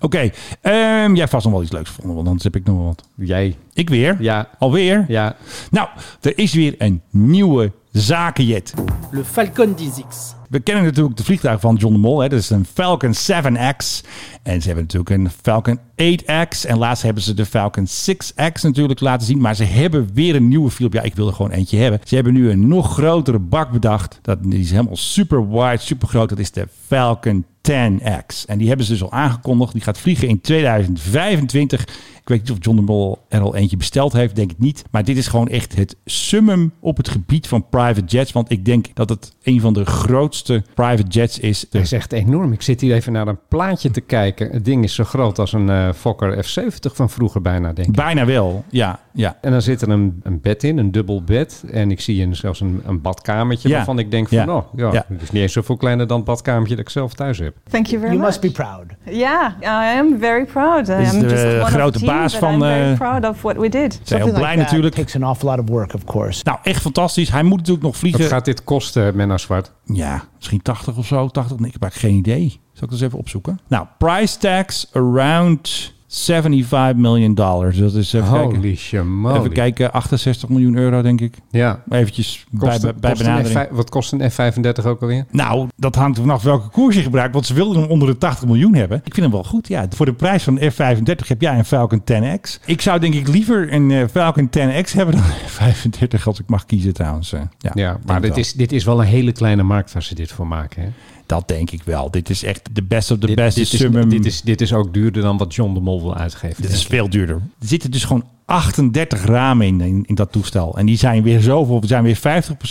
Speaker 1: Oké, ehm, jij vast nog wel iets leuks gevonden, want anders heb ik nog wel wat.
Speaker 2: Jij,
Speaker 1: Ik weer?
Speaker 2: Ja.
Speaker 1: Alweer?
Speaker 2: ja,
Speaker 1: Nou, er is weer een nieuwe zakenjet.
Speaker 9: Le Falcon 10X.
Speaker 1: We kennen natuurlijk de vliegtuig van John de Mol. Hè? Dat is een Falcon 7X. En ze hebben natuurlijk een Falcon 8X. En laatst hebben ze de Falcon 6X natuurlijk laten zien. Maar ze hebben weer een nieuwe Philip. Ja, ik wil er gewoon eentje hebben. Ze hebben nu een nog grotere bak bedacht. Dat die is helemaal super wide, super groot. Dat is de Falcon 10X. En die hebben ze dus al aangekondigd. Die gaat vliegen in 2025. Ik weet niet of John de Mol er al eentje besteld heeft. Denk ik niet. Maar dit is gewoon echt het summum op het gebied van private jets. Want ik denk dat het een van de grootste private jets is. Dus
Speaker 2: Hij is echt enorm. Ik zit hier even naar een plaatje te kijken. Het ding is zo groot als een eh, Fokker F70 van vroeger bijna, denk ik.
Speaker 1: Bijna wel. Ja, ja.
Speaker 2: En dan zit er een, een bed in, een dubbel bed. En ik zie een, zelfs een, een badkamertje
Speaker 1: Ja.
Speaker 2: waarvan ik denk van...
Speaker 1: Ja.
Speaker 2: oh, ja,
Speaker 1: Ja.
Speaker 2: het is niet eens zoveel kleiner dan het badkamertje dat ik zelf thuis heb.
Speaker 10: Thank you very
Speaker 9: You
Speaker 10: much.
Speaker 9: must be proud.
Speaker 10: Yeah, I am very proud. I
Speaker 1: Dit is
Speaker 10: am
Speaker 1: de,
Speaker 10: just
Speaker 1: eh,
Speaker 10: one of
Speaker 1: grote
Speaker 10: the team,
Speaker 1: baas
Speaker 10: but
Speaker 1: van,
Speaker 10: I'm very
Speaker 1: eh,
Speaker 10: proud of what we did.
Speaker 1: Zijn heel
Speaker 9: Something
Speaker 1: blij
Speaker 9: like that
Speaker 1: natuurlijk.
Speaker 9: takes an awful lot of work, of course.
Speaker 1: Nou, echt fantastisch. Hij moet natuurlijk nog
Speaker 2: Wat
Speaker 1: vliegen.
Speaker 2: gaat dit kosten, Menno Zwart?
Speaker 1: Ja, misschien 80 of zo. 80, nee, ik heb eigenlijk geen idee. Zal ik dat eens even opzoeken? Nou, price tags around 75 miljoen dollar. Dus dat is even kijken.
Speaker 2: Holy shamoly.
Speaker 1: Even kijken, 68 miljoen euro denk ik.
Speaker 2: Ja.
Speaker 1: Maar Eventjes bij,
Speaker 2: Kost,
Speaker 1: bij, bij
Speaker 2: kost een
Speaker 1: benadering.
Speaker 2: F5 wat kost een F35 ook alweer?
Speaker 1: Nou, dat hangt er vanaf welke koers je gebruikt. Want ze wilden hem onder de 80 miljoen hebben. Ik vind hem wel goed. Ja, voor de prijs van een F35 heb jij een Falcon 10X. Ik zou denk ik liever een eh, Falcon 10X hebben dan een 35 als ik mag kiezen trouwens. eh. Ja,
Speaker 2: Ja,
Speaker 1: denk
Speaker 2: maar
Speaker 1: het
Speaker 2: dit
Speaker 1: wel.
Speaker 2: is, dit is wel een hele kleine markt waar ze dit voor maken, hè?
Speaker 1: Dat denk ik wel. Dit is echt de best of the
Speaker 2: Dit,
Speaker 1: best.
Speaker 2: dit, is,
Speaker 1: summum.
Speaker 2: dit, is, dit is ook duurder dan wat John de Mol wil uitgeven.
Speaker 1: Dit is veel duurder. Er zitten dus gewoon 38 ramen in, in, in dat toestel. En die zijn weer zoveel, zijn weer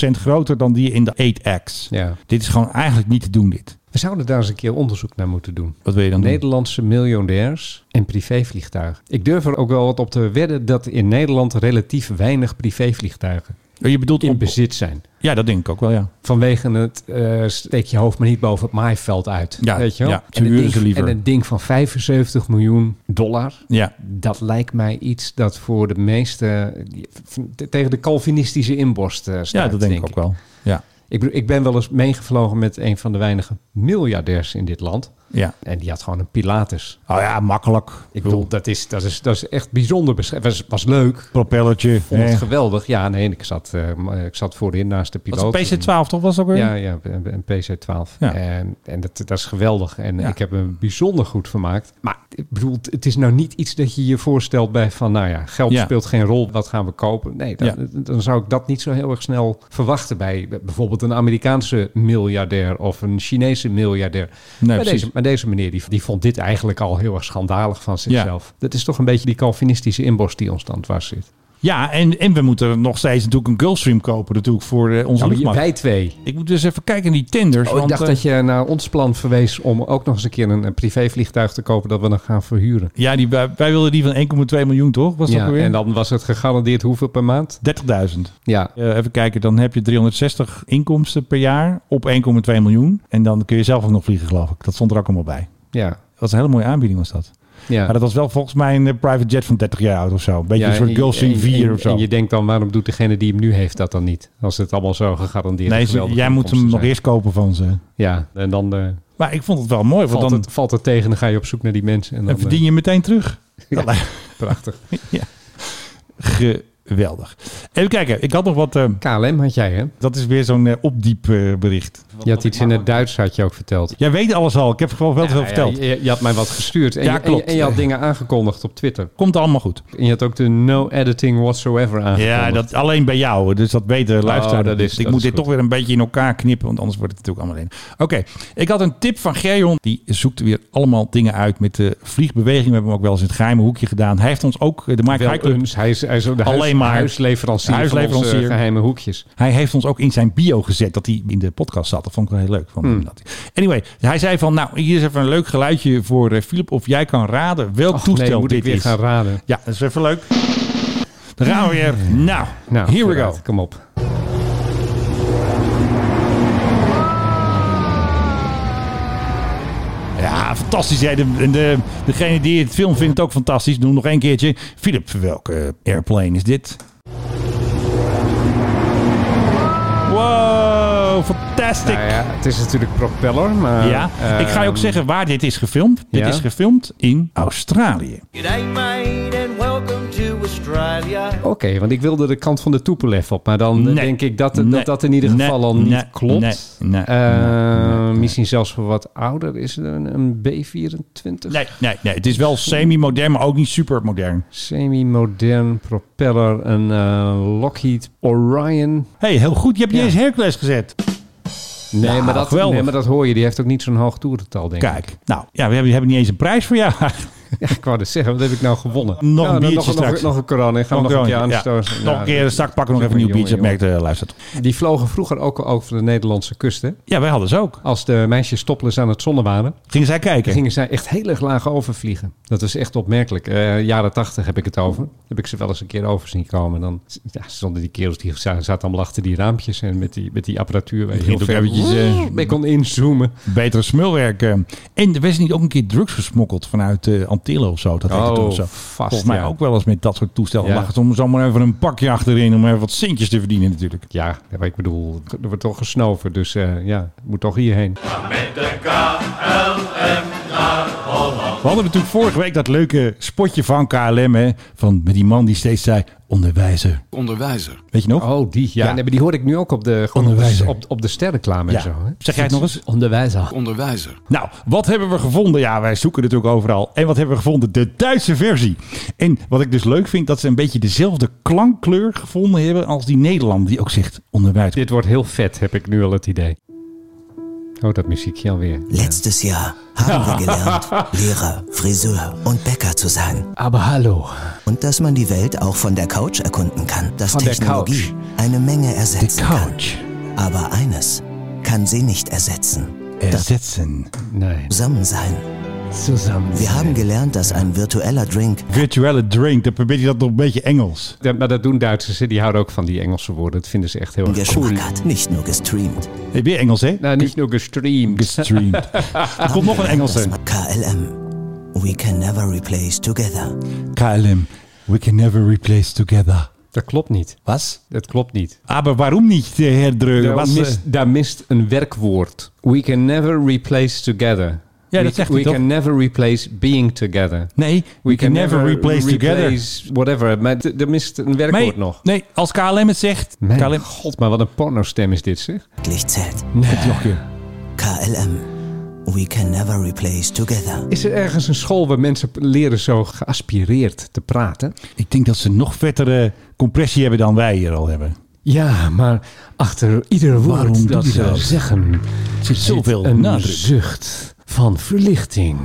Speaker 1: 50% groter dan die in de 8X.
Speaker 2: Ja.
Speaker 1: Dit is gewoon eigenlijk niet te doen, dit.
Speaker 2: We zouden daar eens een keer onderzoek naar moeten doen.
Speaker 1: Wat wil je dan doen?
Speaker 2: Nederlandse miljonairs en privévliegtuigen. Ik durf er ook wel wat op te wedden dat in Nederland relatief weinig privévliegtuigen
Speaker 1: Oh, Je bedoelt
Speaker 2: in
Speaker 1: op-
Speaker 2: bezit zijn.
Speaker 1: Ja, dat denk ik ook wel, ja.
Speaker 2: Vanwege het eh, steek je hoofd maar niet boven het maaiveld uit.
Speaker 1: Ja,
Speaker 2: weet je wel?
Speaker 1: ja, ze
Speaker 2: en, een
Speaker 1: huren ze
Speaker 2: ding,
Speaker 1: liever.
Speaker 2: en een ding van 75 miljoen dollar.
Speaker 1: Ja,
Speaker 2: Dat lijkt mij iets dat voor de meeste die- tegen de Calvinistische inborst eh, staat.
Speaker 1: ja dat denk ik ook wel. Ja,
Speaker 2: Ik, bedoel, ik ben wel eens meegevlogen met een van de weinige miljardairs in dit land.
Speaker 1: ja.
Speaker 2: En die had gewoon een Pilatus.
Speaker 1: Oh ja, makkelijk.
Speaker 2: Ik bedoel, dat is, dat is, dat is echt bijzonder beschreven. Was, was leuk.
Speaker 1: propellertje.
Speaker 2: Vond het
Speaker 1: hè.
Speaker 2: geweldig. Ja, nee, ik zat, eh, ik zat voorin naast de piloot. eh,
Speaker 1: Dat is een PC-12 toch, was dat weer?
Speaker 2: Ja, ja, een PC-12.
Speaker 1: Ja.
Speaker 2: En, en dat, dat is geweldig. En
Speaker 1: Ja.
Speaker 2: ik heb hem bijzonder goed vermaakt. Maar ik bedoel, het is nou niet iets dat je je voorstelt bij van... nou ja, geld
Speaker 1: Ja.
Speaker 2: speelt geen rol, wat gaan we kopen? Nee, dan,
Speaker 1: Ja.
Speaker 2: dan zou ik dat niet zo heel erg snel verwachten... bij bijvoorbeeld een Amerikaanse miljardair of een Chinese miljardair. maar,
Speaker 1: precies.
Speaker 2: deze, maar deze meneer, die, die vond dit eigenlijk al heel erg schandalig van zichzelf. Dat is toch een beetje die Calvinistische inborst die ons dan dwars zit.
Speaker 1: Ja, en, en we moeten nog steeds natuurlijk een Gulfstream kopen natuurlijk voor eh, onze
Speaker 2: Ja, maar je-
Speaker 1: luchtmacht.
Speaker 2: wij twee...
Speaker 1: Ik moet dus even kijken in die tenders.
Speaker 2: Oh, ik
Speaker 1: want,
Speaker 2: dacht
Speaker 1: eh,
Speaker 2: dat je naar ons plan verwees om ook nog eens een keer een, een privévliegtuig te kopen dat we dan gaan verhuren.
Speaker 1: Ja, die, wij, wij wilden die van 1,2 miljoen, toch? Was dat
Speaker 2: Ja,
Speaker 1: weer?
Speaker 2: en dan was het gegarandeerd hoeveel per maand?
Speaker 1: 30.000.
Speaker 2: Ja,
Speaker 1: Eh, even kijken, dan heb je 360 inkomsten per jaar op 1,2 miljoen. En dan kun je zelf ook nog vliegen, geloof ik. Dat stond er ook allemaal bij.
Speaker 2: ja,
Speaker 1: Dat was een hele mooie aanbieding, was dat.
Speaker 2: ja.
Speaker 1: Maar dat was wel volgens mij een eh, private jet van 30 jaar oud of zo. Een beetje
Speaker 2: Ja,
Speaker 1: een soort
Speaker 2: en-
Speaker 1: Gulfstream
Speaker 2: en-
Speaker 1: 4
Speaker 2: en-
Speaker 1: of zo.
Speaker 2: En je denkt dan, waarom doet degene die hem nu heeft dat dan niet? Als het allemaal zo gegarandeerd
Speaker 1: nee, ze-
Speaker 2: geweldige
Speaker 1: jij moet hem nog
Speaker 2: inkomsten
Speaker 1: eerst kopen van ze.
Speaker 2: zijn. Ja, en dan eh,
Speaker 1: Maar ik vond het wel mooi, want
Speaker 2: valt,
Speaker 1: dan,
Speaker 2: het, valt het tegen, dan ga je op zoek naar die mensen. En dan
Speaker 1: dan verdien je meteen terug. Dat lijkt
Speaker 2: eh, prachtig.
Speaker 1: me geweldig. Even kijken, ik had nog wat... eh,
Speaker 2: KLM had jij, hè?
Speaker 1: dat is weer zo'n eh, opdiepbericht.
Speaker 2: Je had iets in het Duits, had je ook verteld.
Speaker 1: Jij weet alles al. Ik heb gewoon wel te veel
Speaker 2: Ja,
Speaker 1: verteld.
Speaker 2: ja, je, je had mij wat gestuurd. En,
Speaker 1: Ja,
Speaker 2: je- en je-
Speaker 1: klopt.
Speaker 2: En je had dingen aangekondigd op Twitter.
Speaker 1: Komt allemaal goed.
Speaker 2: En je had ook de no editing whatsoever aangekondigd. Oh,
Speaker 1: Ja, dat alleen bij jou. Dus dat weten luisteraars.
Speaker 2: dat is-
Speaker 1: ik
Speaker 2: dat
Speaker 1: moet
Speaker 2: is
Speaker 1: dit
Speaker 2: goed.
Speaker 1: toch weer een beetje in elkaar knippen, want anders wordt het natuurlijk allemaal alleen. Oké, ik had een tip van Gerjon. Die zoekt weer allemaal dingen uit met de vliegbeweging. We hebben hem ook wel eens in het geheime hoekje gedaan. Hij heeft ons ook eh, de Mike High
Speaker 2: Wel
Speaker 1: Club.
Speaker 2: eens. Hij is, hij is ook de
Speaker 1: Alleen
Speaker 2: huis-
Speaker 1: maar.
Speaker 2: huisleverancier,
Speaker 1: Huisleverancier.
Speaker 2: van onze geheime hoekjes.
Speaker 1: Hij heeft ons ook in zijn bio gezet dat hij in de podcast zat. Dat vond ik wel heel leuk. Van
Speaker 2: Hmm.
Speaker 1: hem dat hij- Anyway, hij zei van, nou, hier is even een leuk geluidje voor eh, Philip. Of jij kan raden welk
Speaker 2: Och,
Speaker 1: toestel
Speaker 2: nee, moet
Speaker 1: dit
Speaker 2: ik weer
Speaker 1: is.
Speaker 2: gaan raden.
Speaker 1: Ja, dat is even leuk. Dan gaan we weer. Nou,
Speaker 2: Nou,
Speaker 1: here we
Speaker 2: vooruit,
Speaker 1: go.
Speaker 2: Kom op.
Speaker 1: Ja, fantastisch. Hè? De, de- de, degene die het film vindt het ook fantastisch. Doe hem nog één keertje. Philip, welke airplane is dit? Wow, fantastic.
Speaker 2: Nou ja, het is natuurlijk propeller, maar...
Speaker 1: ja,
Speaker 2: eh,
Speaker 1: ik ga je ook zeggen waar dit is gefilmd. Dit
Speaker 2: ja?
Speaker 1: is gefilmd in Australië.
Speaker 2: Oké, want ik wilde de kant van de Tupolev op. Maar dan
Speaker 1: Nee.
Speaker 2: denk ik dat dat,
Speaker 1: Nee.
Speaker 2: dat in ieder
Speaker 1: Nee.
Speaker 2: geval al niet
Speaker 1: Nee.
Speaker 2: klopt.
Speaker 1: Nee. Nee.
Speaker 2: Eh,
Speaker 1: Nee. Nee.
Speaker 2: Misschien zelfs voor wat ouder is er een, een B-24.
Speaker 1: Nee, nee, nee. Het is wel semi-modern, maar ook niet super modern.
Speaker 2: Semi-modern propeller. Een eh, Lockheed Orion.
Speaker 1: hey, heel goed. Je hebt niet
Speaker 2: Ja.
Speaker 1: eens Hercules gezet.
Speaker 2: Nee,
Speaker 1: Nou,
Speaker 2: maar dat,
Speaker 1: geweldig.
Speaker 2: nee, maar dat hoor je. Die heeft ook niet zo'n hoog toerental, denk ik.
Speaker 1: Kijk, nou, ja, we hebben, we hebben niet eens een prijs voor jou.
Speaker 2: Ja, ik wou dus zeggen, wat heb ik nou gewonnen?
Speaker 1: een
Speaker 2: Nou, dan
Speaker 1: biertje
Speaker 2: nog,
Speaker 1: straks.
Speaker 2: Nog, nog een corona. Ik ga nog,
Speaker 1: Gewoon,
Speaker 2: een keer
Speaker 1: ja.
Speaker 2: aanstoten.
Speaker 1: Nog
Speaker 2: Ja,
Speaker 1: een keer een zak pakken, nog even een
Speaker 2: jongen,
Speaker 1: nieuw biertje. Dat
Speaker 2: jongen,
Speaker 1: merkt de luisteraar.
Speaker 2: Die vlogen vroeger ook al over de Nederlandse kust, hè?
Speaker 1: Ja, wij hadden ze ook.
Speaker 2: Als de meisjes topless aan het zonnen waren,
Speaker 1: Gingen zij kijken?
Speaker 2: gingen zij echt heel erg laag overvliegen. Dat is echt opmerkelijk. Eh, jaren tachtig heb ik het over. Heb ik ze wel eens een keer over zien komen. Dan ja, stonden die kerels, die za- zaten allemaal achter die raampjes en met die, met die apparatuur. Weet je, heel
Speaker 1: ook
Speaker 2: ver.
Speaker 1: eventjes, eh,
Speaker 2: Ik kon inzoomen.
Speaker 1: Betere smulwerk. eh. En er werd niet ook een keer drugs gesmokkeld vanuit eh Antillen of zo. Dat heette
Speaker 2: Oh,
Speaker 1: toen zo.
Speaker 2: vast,
Speaker 1: Volgens mij
Speaker 2: ja.
Speaker 1: ook wel eens met dat soort toestellen.
Speaker 2: Ja.
Speaker 1: Lag het om zomaar even een pakje achterin om even wat centjes te verdienen natuurlijk.
Speaker 2: Ja, maar ik bedoel, er wordt toch gesnoven. Dus eh, ja, moet toch hierheen.
Speaker 1: We hadden natuurlijk vorige week dat leuke spotje van KLM. Hè, van met die man die steeds zei, onderwijzer.
Speaker 11: Onderwijzer.
Speaker 1: Weet je nog?
Speaker 2: Oh, die. Ja,
Speaker 1: Ja.
Speaker 2: Nee, maar die hoor ik nu ook op de, gewoon
Speaker 1: Onderwijzer.
Speaker 2: op, op de sterreclame
Speaker 1: Ja.
Speaker 2: en zo. Hè?
Speaker 1: Zeg jij het nog eens?
Speaker 2: Onderwijzer.
Speaker 11: Onderwijzer.
Speaker 1: Nou, wat hebben we gevonden? Ja, wij zoeken natuurlijk overal. En wat hebben we gevonden? De Duitse versie. En wat ik dus leuk vind, dat ze een beetje dezelfde klankkleur gevonden hebben als die Nederlander die ook zegt onderwijs.
Speaker 2: Dit wordt heel vet, heb ik nu al het idee. Oh, dat muziekje alweer.
Speaker 11: Letztes Jahr haben wir gelernt,
Speaker 3: *laughs*
Speaker 11: Lehrer, Friseur und Bäcker zu sein.
Speaker 2: Aber hallo.
Speaker 11: Und dass man die Welt auch von der Couch erkunden kann. Dass
Speaker 2: Von der
Speaker 11: Technologie eine Menge ersetzen kann. Aber eines kann sie nicht ersetzen.
Speaker 1: Ersetzen.
Speaker 2: Nee.
Speaker 11: Zusammen sein.
Speaker 2: Zusammen.
Speaker 11: Wir haben gelernt, dass ein virtueller Drink
Speaker 1: Virtuelle drink, dan probeer je dat nog een beetje Engels.
Speaker 2: Ja, maar dat doen Duitsers, hè. die houden ook van die Engelse woorden. Dat vinden ze echt heel
Speaker 11: einen
Speaker 2: erg cool.
Speaker 11: Geschmack hat. Nicht nur gestreamt.
Speaker 1: Heb je Engels, hè?
Speaker 2: Nou, niet nur gestreamd.
Speaker 1: Gestreamd. *laughs* er komt
Speaker 11: Haben
Speaker 1: nog een
Speaker 11: gelernt,
Speaker 1: Engelse.
Speaker 11: dass- KLM. We can never replace together.
Speaker 1: KLM, we can never replace together.
Speaker 2: dat klopt niet.
Speaker 1: Was?
Speaker 2: Dat klopt niet.
Speaker 1: Maar waarom niet, de heer Dreugen?
Speaker 2: Daar,
Speaker 1: Was, eh,
Speaker 2: mist, daar mist een werkwoord. We can never replace together.
Speaker 1: Ja,
Speaker 2: we,
Speaker 1: dat zegt
Speaker 2: We
Speaker 1: hij toch?
Speaker 2: can never replace being together. We,
Speaker 1: nee, we, can, never, replace, together.
Speaker 2: replace Whatever. Maar d- er mist een werkwoord
Speaker 1: Nee,
Speaker 2: nog.
Speaker 1: nee, als KLM het zegt.
Speaker 2: Mijn
Speaker 1: KLM,
Speaker 2: god, maar wat een pornostem is dit, zeg.
Speaker 11: Wirklich zählt.
Speaker 1: het nog een keer.
Speaker 11: KLM. We can never replace together.
Speaker 2: Is er ergens een school waar mensen leren zo geaspireerd te praten?
Speaker 1: Ik denk dat ze nog vettere compressie hebben dan wij hier al hebben.
Speaker 2: Ja, maar achter ieder woord
Speaker 1: Waarom doet
Speaker 2: dat
Speaker 1: hij
Speaker 2: ze
Speaker 1: dat?
Speaker 2: zeggen
Speaker 1: Er zit zoveel
Speaker 2: een
Speaker 1: nadruk.
Speaker 2: zucht van verlichting.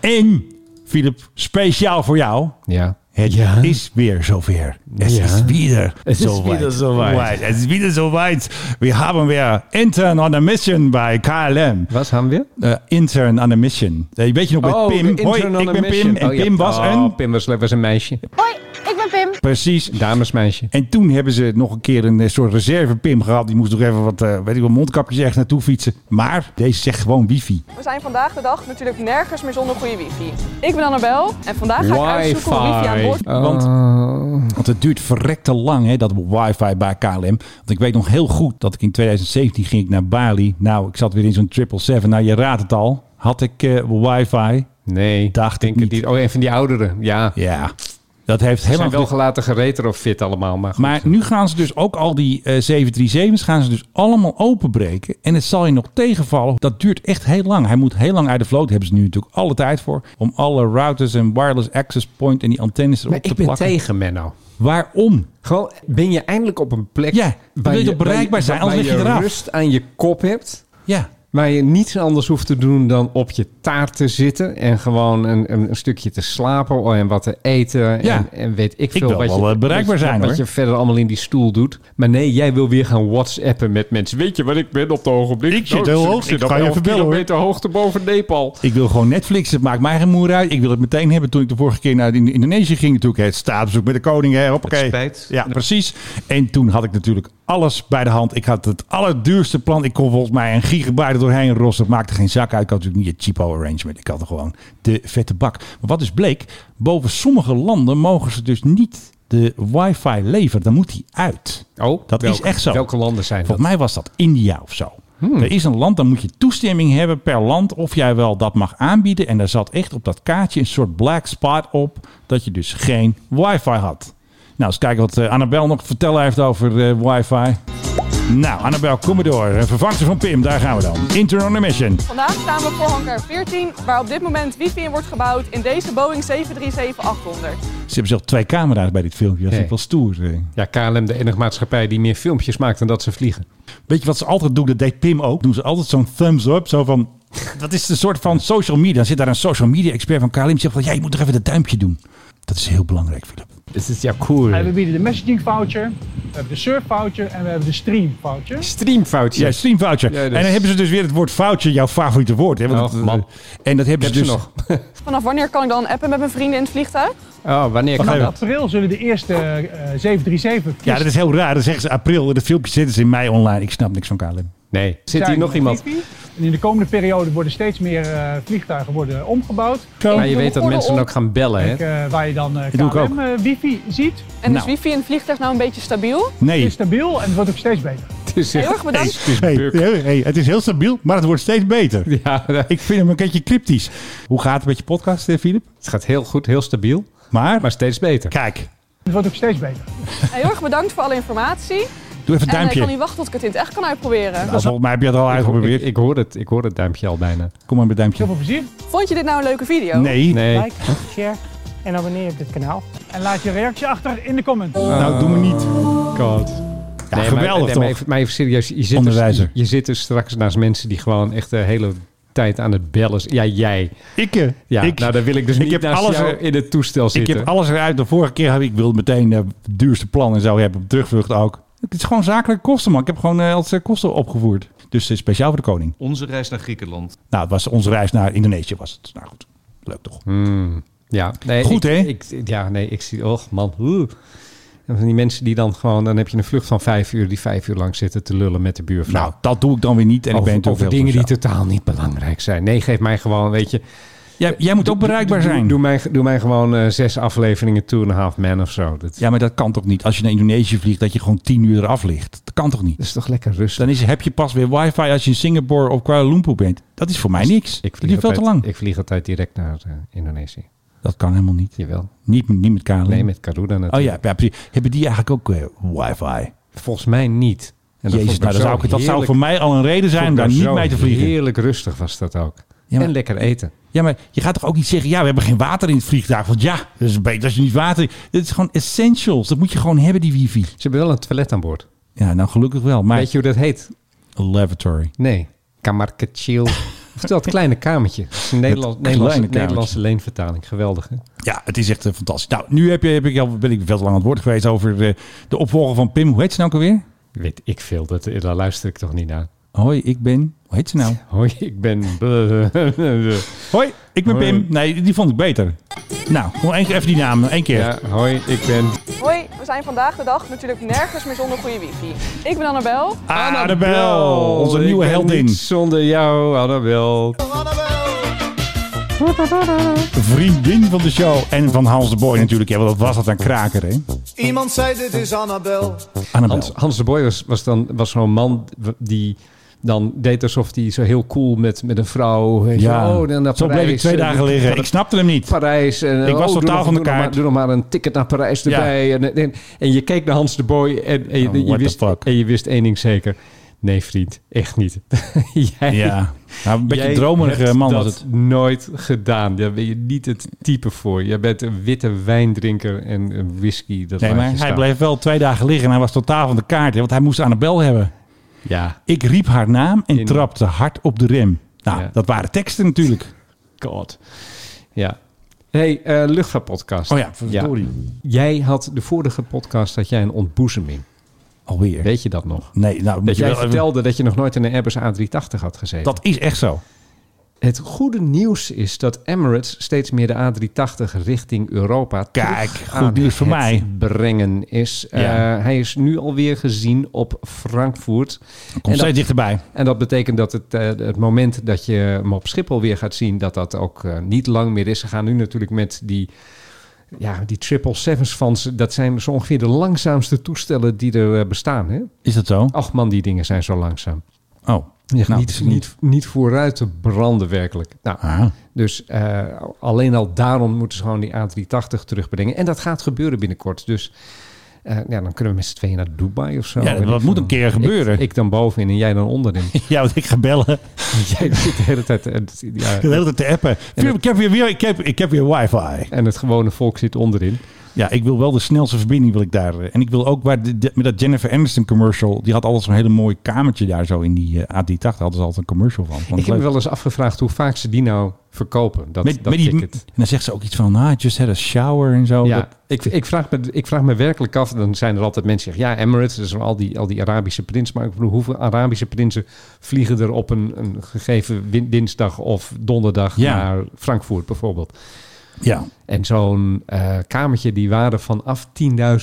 Speaker 1: En, Philip, speciaal voor jou.
Speaker 2: Ja.
Speaker 1: Het
Speaker 2: ja.
Speaker 1: is weer zover. Es
Speaker 2: Ja.
Speaker 1: ist wieder
Speaker 2: Es ist
Speaker 1: soweit.
Speaker 2: wieder soweit.
Speaker 1: Weit. Es ist wieder soweit. Wir haben wir intern on a mission bij KLM.
Speaker 2: Wat gaan we?
Speaker 1: Eh, intern on a mission. Eh, weet je nog met Pim?
Speaker 2: de
Speaker 1: Hoi,
Speaker 2: Oh, intern on
Speaker 1: ik
Speaker 2: a
Speaker 1: ben
Speaker 2: mission.
Speaker 1: Pim. En
Speaker 2: Oh, ja.
Speaker 1: Pim was
Speaker 2: oh,
Speaker 1: een...
Speaker 2: Pim was, was een meisje.
Speaker 4: Hoi, ik ben Pim.
Speaker 1: Precies.
Speaker 2: Een damesmeisje.
Speaker 1: En toen hebben ze nog een keer een eh, soort reserve Pim gehad. Die moest nog even wat, eh, weet ik wel, mondkapjes ergens naartoe fietsen. Maar deze zegt gewoon wifi.
Speaker 10: We zijn vandaag de dag natuurlijk nergens meer zonder goede wifi. Ik ben Annabel en vandaag ga ik uitzoeken hoe wifi aan boord...
Speaker 1: Want,
Speaker 2: Eh.
Speaker 1: want het duurt verrekte lang, hè, dat wifi bij KLM. Want ik weet nog heel goed dat ik in 2017 ging ik naar Bali. Nou, ik zat weer in zo'n 777. Nou, je raadt het al. Had ik eh, wifi?
Speaker 2: Nee,
Speaker 1: Dacht ik
Speaker 2: denk het
Speaker 1: niet.
Speaker 2: niet. Oh, een van die ouderen. Ja.
Speaker 1: Ja, dat heeft
Speaker 2: Ze zijn
Speaker 1: helemaal...
Speaker 2: wel gelaten gereten of fit allemaal. Maar, goed.
Speaker 1: Maar nu gaan ze dus ook al die eh, 737's gaan ze dus allemaal openbreken. En het zal je nog tegenvallen. Dat duurt echt heel lang. Hij moet heel lang uit de vloot. Daar hebben ze nu natuurlijk alle tijd voor. Om alle routers en wireless access point en die antennes erop
Speaker 2: Maar
Speaker 1: te
Speaker 2: ik ben
Speaker 1: plakken.
Speaker 2: tegen Menno.
Speaker 1: Waarom?
Speaker 2: Gewoon, ben je eindelijk op een plek...
Speaker 1: Ja, je wil toch bereikbaar zijn,
Speaker 2: waar
Speaker 1: anders lig je
Speaker 2: je
Speaker 1: eraf.
Speaker 2: rust aan je kop hebt...
Speaker 1: Ja.
Speaker 2: Waar je niets anders hoeft te doen dan op je taart te zitten. En gewoon een, een, een stukje te slapen oh, en wat te eten. En,
Speaker 1: Ja.
Speaker 2: en weet ik veel
Speaker 1: wil
Speaker 2: wat,
Speaker 1: wel,
Speaker 2: je,
Speaker 1: eh, bereikbaar
Speaker 2: wat,
Speaker 1: zijn,
Speaker 2: wat
Speaker 1: hoor.
Speaker 2: je verder allemaal in die stoel doet. Maar nee, jij wil weer gaan whatsappen met mensen. Weet je wat ik ben op het ogenblik? Oh,
Speaker 1: Ik zit heel hoog. Ik
Speaker 2: op
Speaker 1: ga je
Speaker 2: 11
Speaker 1: even bellen, hoor.
Speaker 2: kilometer hoogte boven Nepal.
Speaker 1: Ik wil gewoon Netflix. Het maakt mij geen moer uit. Ik wil het meteen hebben. Toen ik de vorige keer naar in- Indonesië ging, natuurlijk het staatsbezoek met de koning. Hè. Hoppakee.
Speaker 12: Het spijt.
Speaker 1: Ja, precies. En toen had ik natuurlijk alles bij de hand. Ik had het allerduurste plan. Ik kon volgens mij een gigabyte er doorheen rossen. Het maakte geen zak uit. Ik had natuurlijk niet het cheapo arrangement. Ik had er gewoon de vette bak. Maar wat dus bleek, boven sommige landen mogen ze dus niet de wifi leveren. Dan moet die uit.
Speaker 2: Oh,
Speaker 1: dat is
Speaker 2: welke-
Speaker 1: echt zo.
Speaker 2: welke landen zijn
Speaker 1: Volgens mij was dat India of zo. Er is een land, dan moet je toestemming hebben per land of jij wel dat mag aanbieden. En daar zat echt op dat kaartje een soort black spot op dat je dus geen wifi had. Nou, eens kijken wat eh, Annabel nog te vertellen heeft over eh, wifi. Nou, Annabel, kom maar door. Een vervangster van Pim, daar gaan we dan. Intern on a mission.
Speaker 10: Vandaag staan we voor hangar 14, waar op dit moment wifi in wordt gebouwd in deze Boeing 737-800.
Speaker 1: Ze hebben zelf twee camera's bij dit filmpje. Dat vind ik wel
Speaker 2: Nee.
Speaker 1: stoer. eh.
Speaker 2: Ja, KLM, de enige maatschappij die meer filmpjes maakt dan dat ze vliegen.
Speaker 1: Weet je wat ze altijd doen? Dat deed Pim ook. Doen ze altijd zo'n thumbs up. Zo van, dat is een soort van social media. Dan zit daar een social media expert van KLM. Die zegt van, ja, je moet toch even dat duimpje doen. Dat is heel belangrijk, Philip.
Speaker 2: Dit is ja cool.
Speaker 12: We bieden de messaging voucher, we hebben de surf voucher en we hebben de stream voucher.
Speaker 2: Streamfoutje.
Speaker 1: Ja, stream voucher.
Speaker 2: Ja, dat is-
Speaker 1: En dan hebben ze dus weer het woord voucher, jouw favoriete woord. Hè? Want
Speaker 2: Oh,
Speaker 1: dat-
Speaker 2: man.
Speaker 1: En dat hebben
Speaker 2: Heb
Speaker 1: ze
Speaker 2: je
Speaker 1: dus...
Speaker 2: nog?
Speaker 10: Vanaf wanneer kan ik dan appen met mijn vrienden in het vliegtuig?
Speaker 2: Oh, wanneer kan
Speaker 1: even.
Speaker 2: dat?
Speaker 12: april zullen de eerste eh, 737
Speaker 1: Ja, dat is heel raar. Dan zeggen ze april. In het filmpje zitten ze in mei online. Ik snap niks van KLM.
Speaker 2: Nee. Zit hier
Speaker 12: zijn
Speaker 2: nog iemand?
Speaker 12: wifi. En in de komende periode worden steeds meer eh, vliegtuigen worden omgebouwd.
Speaker 2: Maar je weet dat mensen ook gaan bellen, hè?
Speaker 12: Eh, waar je dan eh
Speaker 1: doe ik ook.
Speaker 12: KLM eh, wifi ziet.
Speaker 10: En
Speaker 1: Nou.
Speaker 10: is wifi in het vliegtuig nou een beetje
Speaker 1: *laughs*
Speaker 10: stabiel?
Speaker 12: Het
Speaker 1: Nee.
Speaker 12: is stabiel en het wordt ook steeds beter.
Speaker 2: Het is
Speaker 10: Heel erg bedankt.
Speaker 2: Het is
Speaker 1: Hey,
Speaker 2: buk.
Speaker 1: hey, hey, het is heel stabiel, maar het wordt steeds beter.
Speaker 2: Ja, *laughs*
Speaker 1: Ik vind hem een beetje cryptisch. Hoe gaat het met je podcast, eh, Philip?
Speaker 2: het gaat heel goed, heel stabiel, maar
Speaker 1: Maar,
Speaker 2: steeds beter.
Speaker 1: kijk,
Speaker 12: Het wordt ook steeds beter.
Speaker 10: Heel erg bedankt voor alle informatie.
Speaker 1: doe even een
Speaker 10: En eh, ik
Speaker 1: duimpje.
Speaker 10: kan niet wachten tot ik het in het echt kan uitproberen.
Speaker 1: Nou, volgens mij heb je het al
Speaker 2: Ik,
Speaker 1: uitgeprobeerd.
Speaker 2: ik hoor het, ik hoor het duimpje al bijna.
Speaker 1: Kom maar met duimpje.
Speaker 12: Heel veel plezier.
Speaker 10: Vond je dit nou een leuke video?
Speaker 1: Nee.
Speaker 2: Nee,
Speaker 9: share en abonneer op dit kanaal.
Speaker 12: En laat je reactie achter in de comments.
Speaker 1: Nou, doe me niet.
Speaker 2: God.
Speaker 1: Ja, geweldig
Speaker 2: maar,
Speaker 1: toch?
Speaker 2: maar even, maar even serieus, je zit, dus,
Speaker 1: Onderwijzer.
Speaker 2: je zit dus straks naast mensen die gewoon echt de hele tijd aan het bellen zijn. Ja, jij.
Speaker 1: Ik, eh,
Speaker 2: Ja,
Speaker 1: ik-
Speaker 2: nou dan wil ik dus
Speaker 1: ik
Speaker 2: niet
Speaker 1: heb
Speaker 2: naast
Speaker 1: alles
Speaker 2: jou
Speaker 1: er-
Speaker 2: in het toestel
Speaker 1: Ik
Speaker 2: zitten.
Speaker 1: heb alles eruit. De vorige keer heb ik wil meteen eh, het duurste plan en zo hebben op terugvlucht ook. Het is gewoon zakelijke kosten, man. Ik heb gewoon eh, altijd kosten opgevoerd. Dus eh, speciaal voor de koning.
Speaker 13: Onze reis naar Griekenland.
Speaker 1: Nou, het was onze reis naar Indonesië was het. Nou goed, leuk toch?
Speaker 2: Hmm, ja. Nee,
Speaker 1: Goed,
Speaker 2: ik-
Speaker 1: hè?
Speaker 2: ik- ja, nee, ik zie... Och, man. oeh. En van die mensen die dan gewoon... Dan heb je een vlucht van vijf uur die vijf uur lang zitten te lullen met de buurvrouw.
Speaker 1: Nou, dat doe ik dan weer niet. En
Speaker 2: over,
Speaker 1: ik ben toch
Speaker 2: over dingen die totaal niet belangrijk zijn. Nee, geef mij gewoon, weet je...
Speaker 1: Jij, jij moet ook bereikbaar
Speaker 2: Doe- doe-
Speaker 1: zijn.
Speaker 2: Doe, mij, doe mij gewoon eh, zes afleveringen Two and a Half Man of zo. Dat,
Speaker 1: Ja, maar dat kan toch niet? Als je naar Indonesië vliegt, dat je gewoon tien uur eraf ligt. Dat kan toch niet?
Speaker 2: Dat is toch lekker rustig?
Speaker 1: Dan is, heb je pas weer wifi als je in Singapore of Kuala Lumpur bent. Dat is voor mij niks. Ik
Speaker 2: vlieg
Speaker 1: vlieg veel te
Speaker 2: altijd-
Speaker 1: lang.
Speaker 2: Ik vlieg altijd direct naar eh, Indonesië.
Speaker 1: Dat kan helemaal niet.
Speaker 2: Jawel.
Speaker 1: Niet, met- niet met KLM.
Speaker 2: Nee, met Karuda natuurlijk.
Speaker 1: Hm. Oh ja, ja, precies. Hebben die eigenlijk ook eh, wifi?
Speaker 2: Volgens mij niet. En dat
Speaker 1: Jezus,
Speaker 2: vond ik
Speaker 1: nou, dat,
Speaker 2: zo
Speaker 1: zou, ik- dat zou
Speaker 2: heerlijk.
Speaker 1: voor mij al een reden zijn om
Speaker 2: Vond ik
Speaker 1: daar niet
Speaker 2: zo
Speaker 1: mee te vliegen.
Speaker 2: Heerlijk rustig was dat ook.
Speaker 1: Ja, maar-
Speaker 2: en lekker eten.
Speaker 1: Ja, maar je gaat toch ook niet zeggen, ja, we hebben geen water in het vliegtuig. Want ja, dat is beter als je niet water... Dit is gewoon essentials. Dat moet je gewoon hebben, die wifi.
Speaker 2: Ze hebben wel een toilet aan boord.
Speaker 1: Ja, nou gelukkig wel. Maar
Speaker 2: Weet je hoe dat heet?
Speaker 1: een lavatory.
Speaker 2: Nee. Kamar *laughs* Kachil. Of dat kleine kamertje. Dat is een Nederland,
Speaker 1: kleine
Speaker 2: Nederlandse,
Speaker 1: kamertje.
Speaker 2: Nederlandse leenvertaling. Geweldig, hè?
Speaker 1: Ja, het is echt eh, fantastisch. Nou, nu heb, je, heb ik, al- ben ik veel te lang aan het woord geweest over de, de opvolger van Pim. Hoe heet ze nou ook alweer?
Speaker 2: Weet ik veel. Dat, daar luister ik toch niet naar.
Speaker 1: Hoi, ik ben... Hoe heet ze nou?
Speaker 2: Hoi, ik ben...
Speaker 1: Hoi, ik ben
Speaker 2: Hoi.
Speaker 1: Pim. Nee, die vond ik beter. Nou, nog één keer even die naam. Eén keer.
Speaker 2: *laughs* ja, hoi, ik ben...
Speaker 10: Hoi, we zijn vandaag de dag natuurlijk nergens meer zonder goede wifi. Ik ben Annabel.
Speaker 1: Annabel, onze
Speaker 2: Nou, Ik
Speaker 1: nieuwe
Speaker 2: ben
Speaker 1: heldin.
Speaker 2: niets Zonder jou, Annabel.
Speaker 1: Vriendin van de show. En van Hans de Boy natuurlijk. Ja, want dat was dat een kraker, hè?
Speaker 14: Iemand zei dit is Annabel.
Speaker 1: Annabel.
Speaker 2: Hans, Hans de Boy was, was, dan- was zo'n man w- die dan deed alsof hij zo heel cool met, met een vrouw... weet je,
Speaker 1: Ja,
Speaker 2: oh, dan naar
Speaker 1: zo bleef
Speaker 2: Parijs,
Speaker 1: ik twee
Speaker 2: eh,
Speaker 1: dagen liggen. Ik snapte hem
Speaker 2: *laughs*
Speaker 1: niet.
Speaker 2: Parijs. En,
Speaker 1: Ik was
Speaker 2: oh, doe
Speaker 1: totaal
Speaker 2: nog-
Speaker 1: van de
Speaker 2: doe nog
Speaker 1: kaart.
Speaker 2: maar- doe nog maar een ticket naar Parijs erbij. En, en, en je keek naar Hans de Boy en, en je-
Speaker 1: Oh,
Speaker 2: je,
Speaker 1: what the
Speaker 2: wist,
Speaker 1: fuck.
Speaker 2: en je wist één ding zeker. Nee, vriend, echt niet. *laughs* jij,
Speaker 1: Ja, nou, een beetje
Speaker 2: jij
Speaker 1: een dromerige
Speaker 2: hebt
Speaker 1: man was
Speaker 2: dat
Speaker 1: het.
Speaker 2: nooit gedaan. Daar ben je niet het type voor. Jij bent een witte wijndrinker en een whisky. Dat
Speaker 1: Nee,
Speaker 2: laat
Speaker 1: maar
Speaker 2: je
Speaker 1: hij
Speaker 2: staan.
Speaker 1: bleef wel twee dagen liggen en hij was totaal van de kaart. hè, Want hij moest Annabel hebben.
Speaker 2: Ja,
Speaker 1: Ik riep haar naam en
Speaker 2: In-
Speaker 1: trapte hard op de rem. Nou,
Speaker 2: Ja.
Speaker 1: dat waren teksten natuurlijk.
Speaker 2: god. Ja. hey, eh, luchtvaartpodcast.
Speaker 1: Oh ja, verdorie.
Speaker 2: Jij had de vorige podcast had jij een ontboezeming.
Speaker 1: Alweer.
Speaker 2: Weet je dat nog?
Speaker 1: Nee, nou, moet
Speaker 2: Dat
Speaker 1: je
Speaker 2: jij
Speaker 1: wel even-
Speaker 2: vertelde dat je nog nooit in een Airbus A380 had gezeten.
Speaker 1: Dat is echt zo.
Speaker 2: Het goede nieuws is dat Emirates steeds meer de A380 richting Europa
Speaker 1: Kijk,
Speaker 2: terug
Speaker 1: goed
Speaker 2: aan
Speaker 1: nieuws voor
Speaker 2: het
Speaker 1: mij.
Speaker 2: brengen is.
Speaker 1: Ja.
Speaker 2: Eh, hij is nu alweer gezien op Frankfurt.
Speaker 1: Komt
Speaker 2: En dat-
Speaker 1: steeds dichterbij.
Speaker 2: en dat betekent dat het, eh, het moment dat je hem op Schiphol weer gaat zien, dat dat ook eh, niet lang meer is. Ze gaan nu natuurlijk met die, ja, die triple sevens van ze. Dat zijn zo ongeveer de langzaamste toestellen die er eh, bestaan. Hè?
Speaker 1: Is dat zo?
Speaker 2: Ach man, die dingen zijn zo langzaam.
Speaker 1: Oh,
Speaker 2: Echt
Speaker 1: Nou, het
Speaker 2: niet,
Speaker 1: is
Speaker 2: niet, niet vooruit te branden werkelijk. Nou,
Speaker 1: Ah.
Speaker 2: dus eh, alleen al daarom moeten ze gewoon die A380 terugbrengen. En dat gaat gebeuren binnenkort. Dus eh, ja, dan kunnen we met z'n tweeën naar Dubai of zo.
Speaker 1: Ja,
Speaker 2: Weet ik
Speaker 1: dat moet
Speaker 2: veel.
Speaker 1: een keer gebeuren.
Speaker 2: Ik, ik dan bovenin en jij dan
Speaker 1: *laughs*
Speaker 2: onderin.
Speaker 1: *laughs*
Speaker 2: *laughs*
Speaker 1: Ja, want ik ga bellen.
Speaker 2: jij zit de hele tijd... eh, ja,
Speaker 1: De hele tijd te appen. Philip, ik, heb weer, weer- ik, heb, ik heb weer wifi.
Speaker 2: en het gewone volk zit onderin.
Speaker 1: Ja, ik wil wel de snelste verbinding wil ik daar. eh, En ik wil ook waar de- de- met dat Jennifer Aniston commercial. Die had altijd zo'n hele mooi kamertje daar zo in die eh, A380. Hadden ze altijd een commercial van. Vond
Speaker 2: ik
Speaker 1: het
Speaker 2: heb me
Speaker 1: leuk.
Speaker 2: wel eens afgevraagd hoe vaak ze die nou verkopen. Dat,
Speaker 1: met,
Speaker 2: dat
Speaker 1: met die,
Speaker 2: ticket.
Speaker 1: En dan zegt ze ook iets van, ah, just had a shower en zo.
Speaker 2: Ja,
Speaker 1: Dat-
Speaker 2: ik, ik, vraag me, ik vraag me werkelijk af. Dan zijn er altijd mensen die zeggen: Ja, Emirates, dat zijn al die, al die Arabische prinsen. Maar ik bedoel, hoeveel Arabische prinsen vliegen er op een, een gegeven win- dinsdag of donderdag
Speaker 1: Ja.
Speaker 2: naar Frankfurt bijvoorbeeld?
Speaker 1: ja.
Speaker 2: En zo'n eh, kamertje die waarde vanaf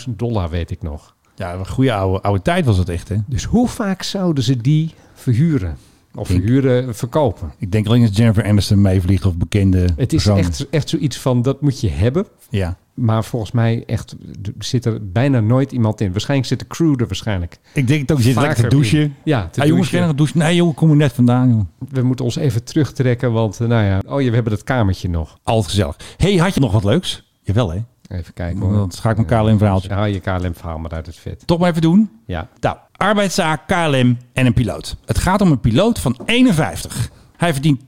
Speaker 2: 10.000 dollar, weet ik nog.
Speaker 1: ja, een goede oude, oude tijd was het echt, hè?
Speaker 2: Dus hoe vaak zouden ze die verhuren? Of
Speaker 1: Denk-
Speaker 2: verhuren, verkopen?
Speaker 1: Ik denk alleen dat Jennifer Aniston meevliegt of bekende
Speaker 2: Het is
Speaker 1: personen.
Speaker 2: echt, echt zoiets van: dat moet je hebben.
Speaker 1: Ja,
Speaker 2: Maar volgens mij echt, d- zit er bijna nooit iemand in. Waarschijnlijk zit de crew er waarschijnlijk.
Speaker 1: ik denk dat je zit lekker te
Speaker 2: Vaker
Speaker 1: douchen.
Speaker 2: in. Ja, te
Speaker 1: Ah, jongens,
Speaker 2: douchen.
Speaker 1: ga je nog douchen? Nee, joh, ik kom er net vandaan, joh.
Speaker 2: we moeten ons even terugtrekken, want eh, nou ja, oh ja, we hebben dat kamertje nog.
Speaker 1: Altijd gezellig. hey, had je nog wat leuks? Jawel, hè?
Speaker 2: Even kijken hoor.
Speaker 1: Dan ga ik mijn KLM-verhaaltje.
Speaker 2: Ja, haal je KLM-verhaal maar uit het vet.
Speaker 1: Toch maar even doen.
Speaker 2: Ja.
Speaker 1: Nou, arbeidszaak, KLM en een piloot. Het gaat om een piloot van 51. Hij verdient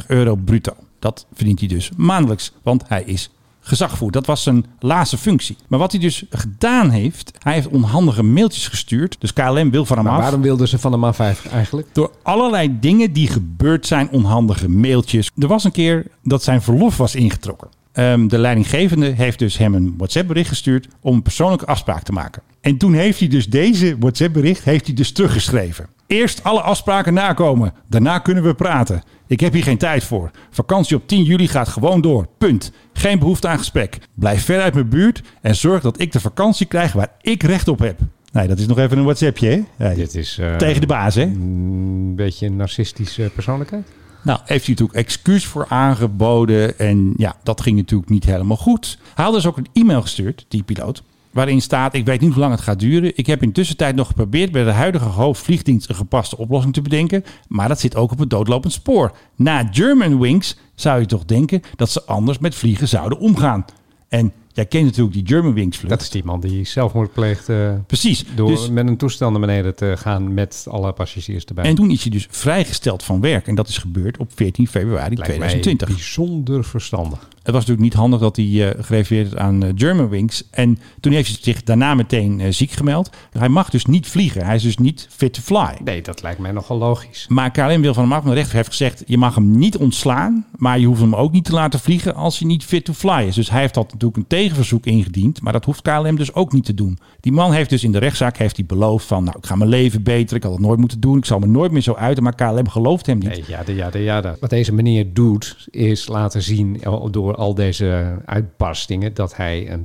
Speaker 1: 12.711,76 euro bruto. Dat verdient hij dus maandelijks, want hij is gezag voert. Dat was zijn laatste functie. Maar wat hij dus gedaan heeft, hij heeft onhandige mailtjes gestuurd. Dus KLM wil van hem
Speaker 2: Maar
Speaker 1: af.
Speaker 2: waarom wilden ze van hem af eigenlijk- eigenlijk?
Speaker 1: Door allerlei dingen die gebeurd zijn, onhandige mailtjes. Er was een keer dat zijn verlof was ingetrokken. Ehm, de leidinggevende heeft dus hem een WhatsApp-bericht gestuurd om een persoonlijke afspraak te maken. En toen heeft hij dus deze WhatsApp-bericht heeft hij dus teruggeschreven. Eerst alle afspraken nakomen. Daarna kunnen we praten. Ik heb hier geen tijd voor. Vakantie op 10 juli gaat gewoon door. Punt. Geen behoefte aan gesprek. Blijf ver uit mijn buurt en zorg dat ik de vakantie krijg waar ik recht op heb. Nee, dat is nog even een WhatsAppje, hè? Ja,
Speaker 2: Dit is... eh,
Speaker 1: Tegen de baas, hè?
Speaker 2: Een beetje een narcistische eh, persoonlijkheid.
Speaker 1: Nou, heeft hij natuurlijk excuus voor aangeboden. En ja, dat ging natuurlijk niet helemaal goed. Hij had dus ook een e-mail gestuurd, die piloot. Waarin staat, ik weet niet hoe lang het gaat duren. Ik heb in tussentijd nog geprobeerd bij de huidige hoofdvliegdienst een gepaste oplossing te bedenken. Maar dat zit ook op het doodlopend spoor. Na Germanwings zou je toch denken dat ze anders met vliegen zouden omgaan. En jij kent natuurlijk die Germanwings vlucht.
Speaker 2: Dat is die man die zelfmoord pleegt. eh,
Speaker 1: Precies.
Speaker 2: Door
Speaker 1: Dus-
Speaker 2: met een toestel naar beneden te gaan met alle passagiers erbij.
Speaker 1: En toen is hij dus vrijgesteld van werk. En dat is gebeurd op 14 februari
Speaker 2: Lijkt mij
Speaker 1: 2020.
Speaker 2: bijzonder verstandig.
Speaker 1: Het was natuurlijk niet handig dat hij eh gerefereerd is aan eh, Germanwings. En toen heeft hij zich daarna meteen eh, ziek gemeld. Hij mag dus niet vliegen. Hij is dus niet fit to fly.
Speaker 2: Nee, dat lijkt mij nogal logisch.
Speaker 1: Maar KLM wil van hem af. Maar de rechter heeft gezegd, je mag hem niet ontslaan. Maar je hoeft hem ook niet te laten vliegen als hij niet fit to fly is. Dus hij heeft dat natuurlijk een tegenverzoek ingediend. Maar dat hoeft KLM dus ook niet te doen. Die man heeft dus in de rechtszaak heeft hij beloofd van... nou, ik ga mijn leven beter. Ik had het nooit moeten doen. Ik zal me nooit meer zo uiten. Maar KLM gelooft hem niet.
Speaker 2: Nee, ja, de- ja, de- ja. de- Wat deze meneer doet, is laten zien eh, door al deze uitbarstingen dat hij een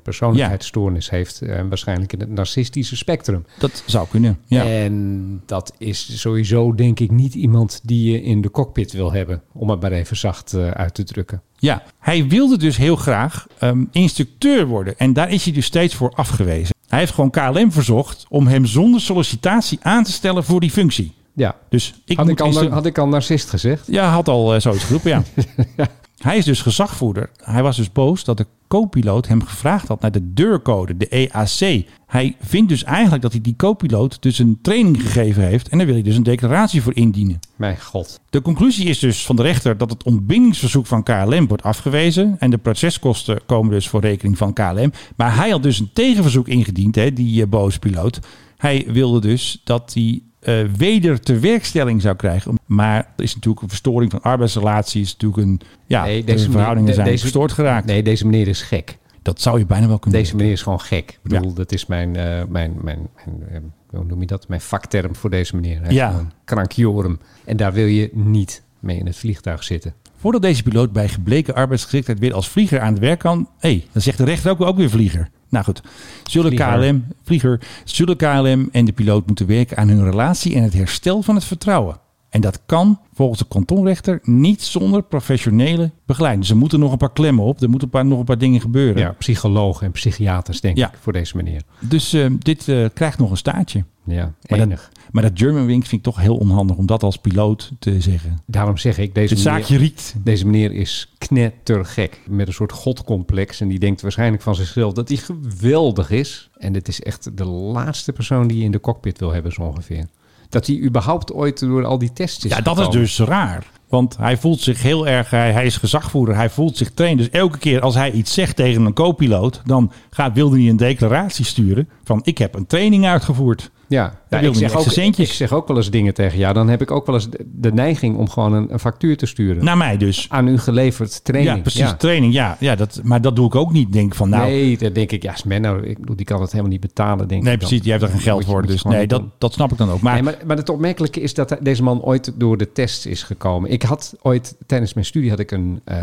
Speaker 2: persoonlijkheidsstoornis heeft. En waarschijnlijk in het narcistische spectrum.
Speaker 1: Dat zou kunnen, ja.
Speaker 2: En dat is sowieso, denk ik, niet iemand die je in de cockpit wil hebben. Om het maar even zacht eh, uit te drukken.
Speaker 1: Ja, hij wilde dus heel graag ehm, instructeur worden. En daar is hij dus steeds voor afgewezen. Hij heeft gewoon KLM verzocht om hem zonder sollicitatie aan te stellen voor die functie.
Speaker 2: Ja.
Speaker 1: Dus ik
Speaker 2: had,
Speaker 1: moet
Speaker 2: ik al,
Speaker 1: instru-
Speaker 2: had ik al narcist gezegd?
Speaker 1: Ja, had al eh, zoiets geroepen,
Speaker 2: *laughs*
Speaker 1: ja. Hij is dus gezagvoerder. Hij was dus boos dat de co-piloot hem gevraagd had naar de deurcode, de EAC. Hij vindt dus eigenlijk dat hij die co-piloot dus een training gegeven heeft. En daar wil hij dus een declaratie voor indienen.
Speaker 2: Mijn god.
Speaker 1: De conclusie is dus van de rechter dat het ontbindingsverzoek van KLM wordt afgewezen. En de proceskosten komen dus voor rekening van KLM. Maar hij had dus een tegenverzoek ingediend, hè, die eh, boze piloot. Hij wilde dus dat hij eh weder ter werkstelling zou krijgen. Maar er is natuurlijk een verstoring van arbeidsrelaties. Natuurlijk een, ja,
Speaker 2: Nee,
Speaker 1: deze verhoudingen
Speaker 2: meneer- de-
Speaker 1: zijn
Speaker 2: deze-
Speaker 1: verstoord geraakt.
Speaker 2: Nee, deze meneer is gek.
Speaker 1: Dat zou je bijna wel kunnen
Speaker 2: Deze meneer is gewoon gek. Ik bedoel,
Speaker 1: Ja.
Speaker 2: dat is mijn, eh, mijn, mijn, mijn eh, hoe noem je dat? Mijn vakterm voor deze meneer. Hij is
Speaker 1: Ja.
Speaker 2: gewoon Krankjorum. En daar wil je niet mee in het vliegtuig zitten.
Speaker 1: Voordat deze piloot bij gebleken arbeidsgeschiktheid weer als vlieger aan het werk kan, hé, dan zegt de rechter ook, ook weer vlieger. Nou goed, zullen
Speaker 2: Vlieger.
Speaker 1: KLM, vlieger, zullen KLM en de piloot moeten werken aan hun relatie en het herstel van het vertrouwen. En dat kan volgens de kantonrechter niet zonder professionele begeleiding. Dus er moeten nog een paar klemmen op, er moeten een paar, nog een paar dingen gebeuren.
Speaker 2: Ja, psychologen en psychiaters, denk
Speaker 1: Ja.
Speaker 2: ik, voor deze meneer.
Speaker 1: Dus eh, dit eh, krijgt nog een staartje.
Speaker 2: Ja,
Speaker 1: Maar
Speaker 2: enig.
Speaker 1: dat, maar dat Germanwings vind ik toch heel onhandig om dat als piloot te zeggen.
Speaker 2: Daarom zeg ik, deze
Speaker 1: Dit
Speaker 2: meneer,
Speaker 1: zaakje riekt.
Speaker 2: deze meneer is knettergek. Met een soort godcomplex. En die denkt waarschijnlijk van zichzelf dat hij geweldig is. En dit is echt de laatste persoon die je in de cockpit wil hebben, zo ongeveer. Dat hij überhaupt ooit door al die tests is
Speaker 1: Ja, dat is
Speaker 2: gekomen.
Speaker 1: dus raar. Want hij voelt zich heel erg, hij, hij is gezagvoerder, hij voelt zich trainen. Dus elke keer als hij iets zegt tegen een co-piloot, dan gaat, wilde hij een declaratie sturen van ik heb een training uitgevoerd.
Speaker 2: Ja,
Speaker 1: wil
Speaker 2: ik,
Speaker 1: niet
Speaker 2: zeg
Speaker 1: echt
Speaker 2: ook,
Speaker 1: zijn centjes.
Speaker 2: ik zeg ook wel eens dingen tegen jou. Dan heb ik ook wel eens de, de neiging om gewoon een, een factuur te sturen.
Speaker 1: Naar mij dus.
Speaker 2: aan u geleverd training.
Speaker 1: ja, precies, training. Ja, ja dat, maar dat doe ik ook niet. Denk van nou, nee,
Speaker 2: nee, dan denk ik, ja, is Menno, ik bedoel, die kan het helemaal niet betalen, denk ik. dan.
Speaker 1: precies, je hebt er geen geld
Speaker 2: Moet je-
Speaker 1: voor.
Speaker 2: moet je
Speaker 1: Dus
Speaker 2: gewoon
Speaker 1: nee,
Speaker 2: niet
Speaker 1: dat,
Speaker 2: doen.
Speaker 1: dat snap ik dan ook. Maar,
Speaker 2: Nee, maar, maar het opmerkelijke is dat deze man ooit door de tests is gekomen. Ik had ooit tijdens mijn studie had ik een, eh,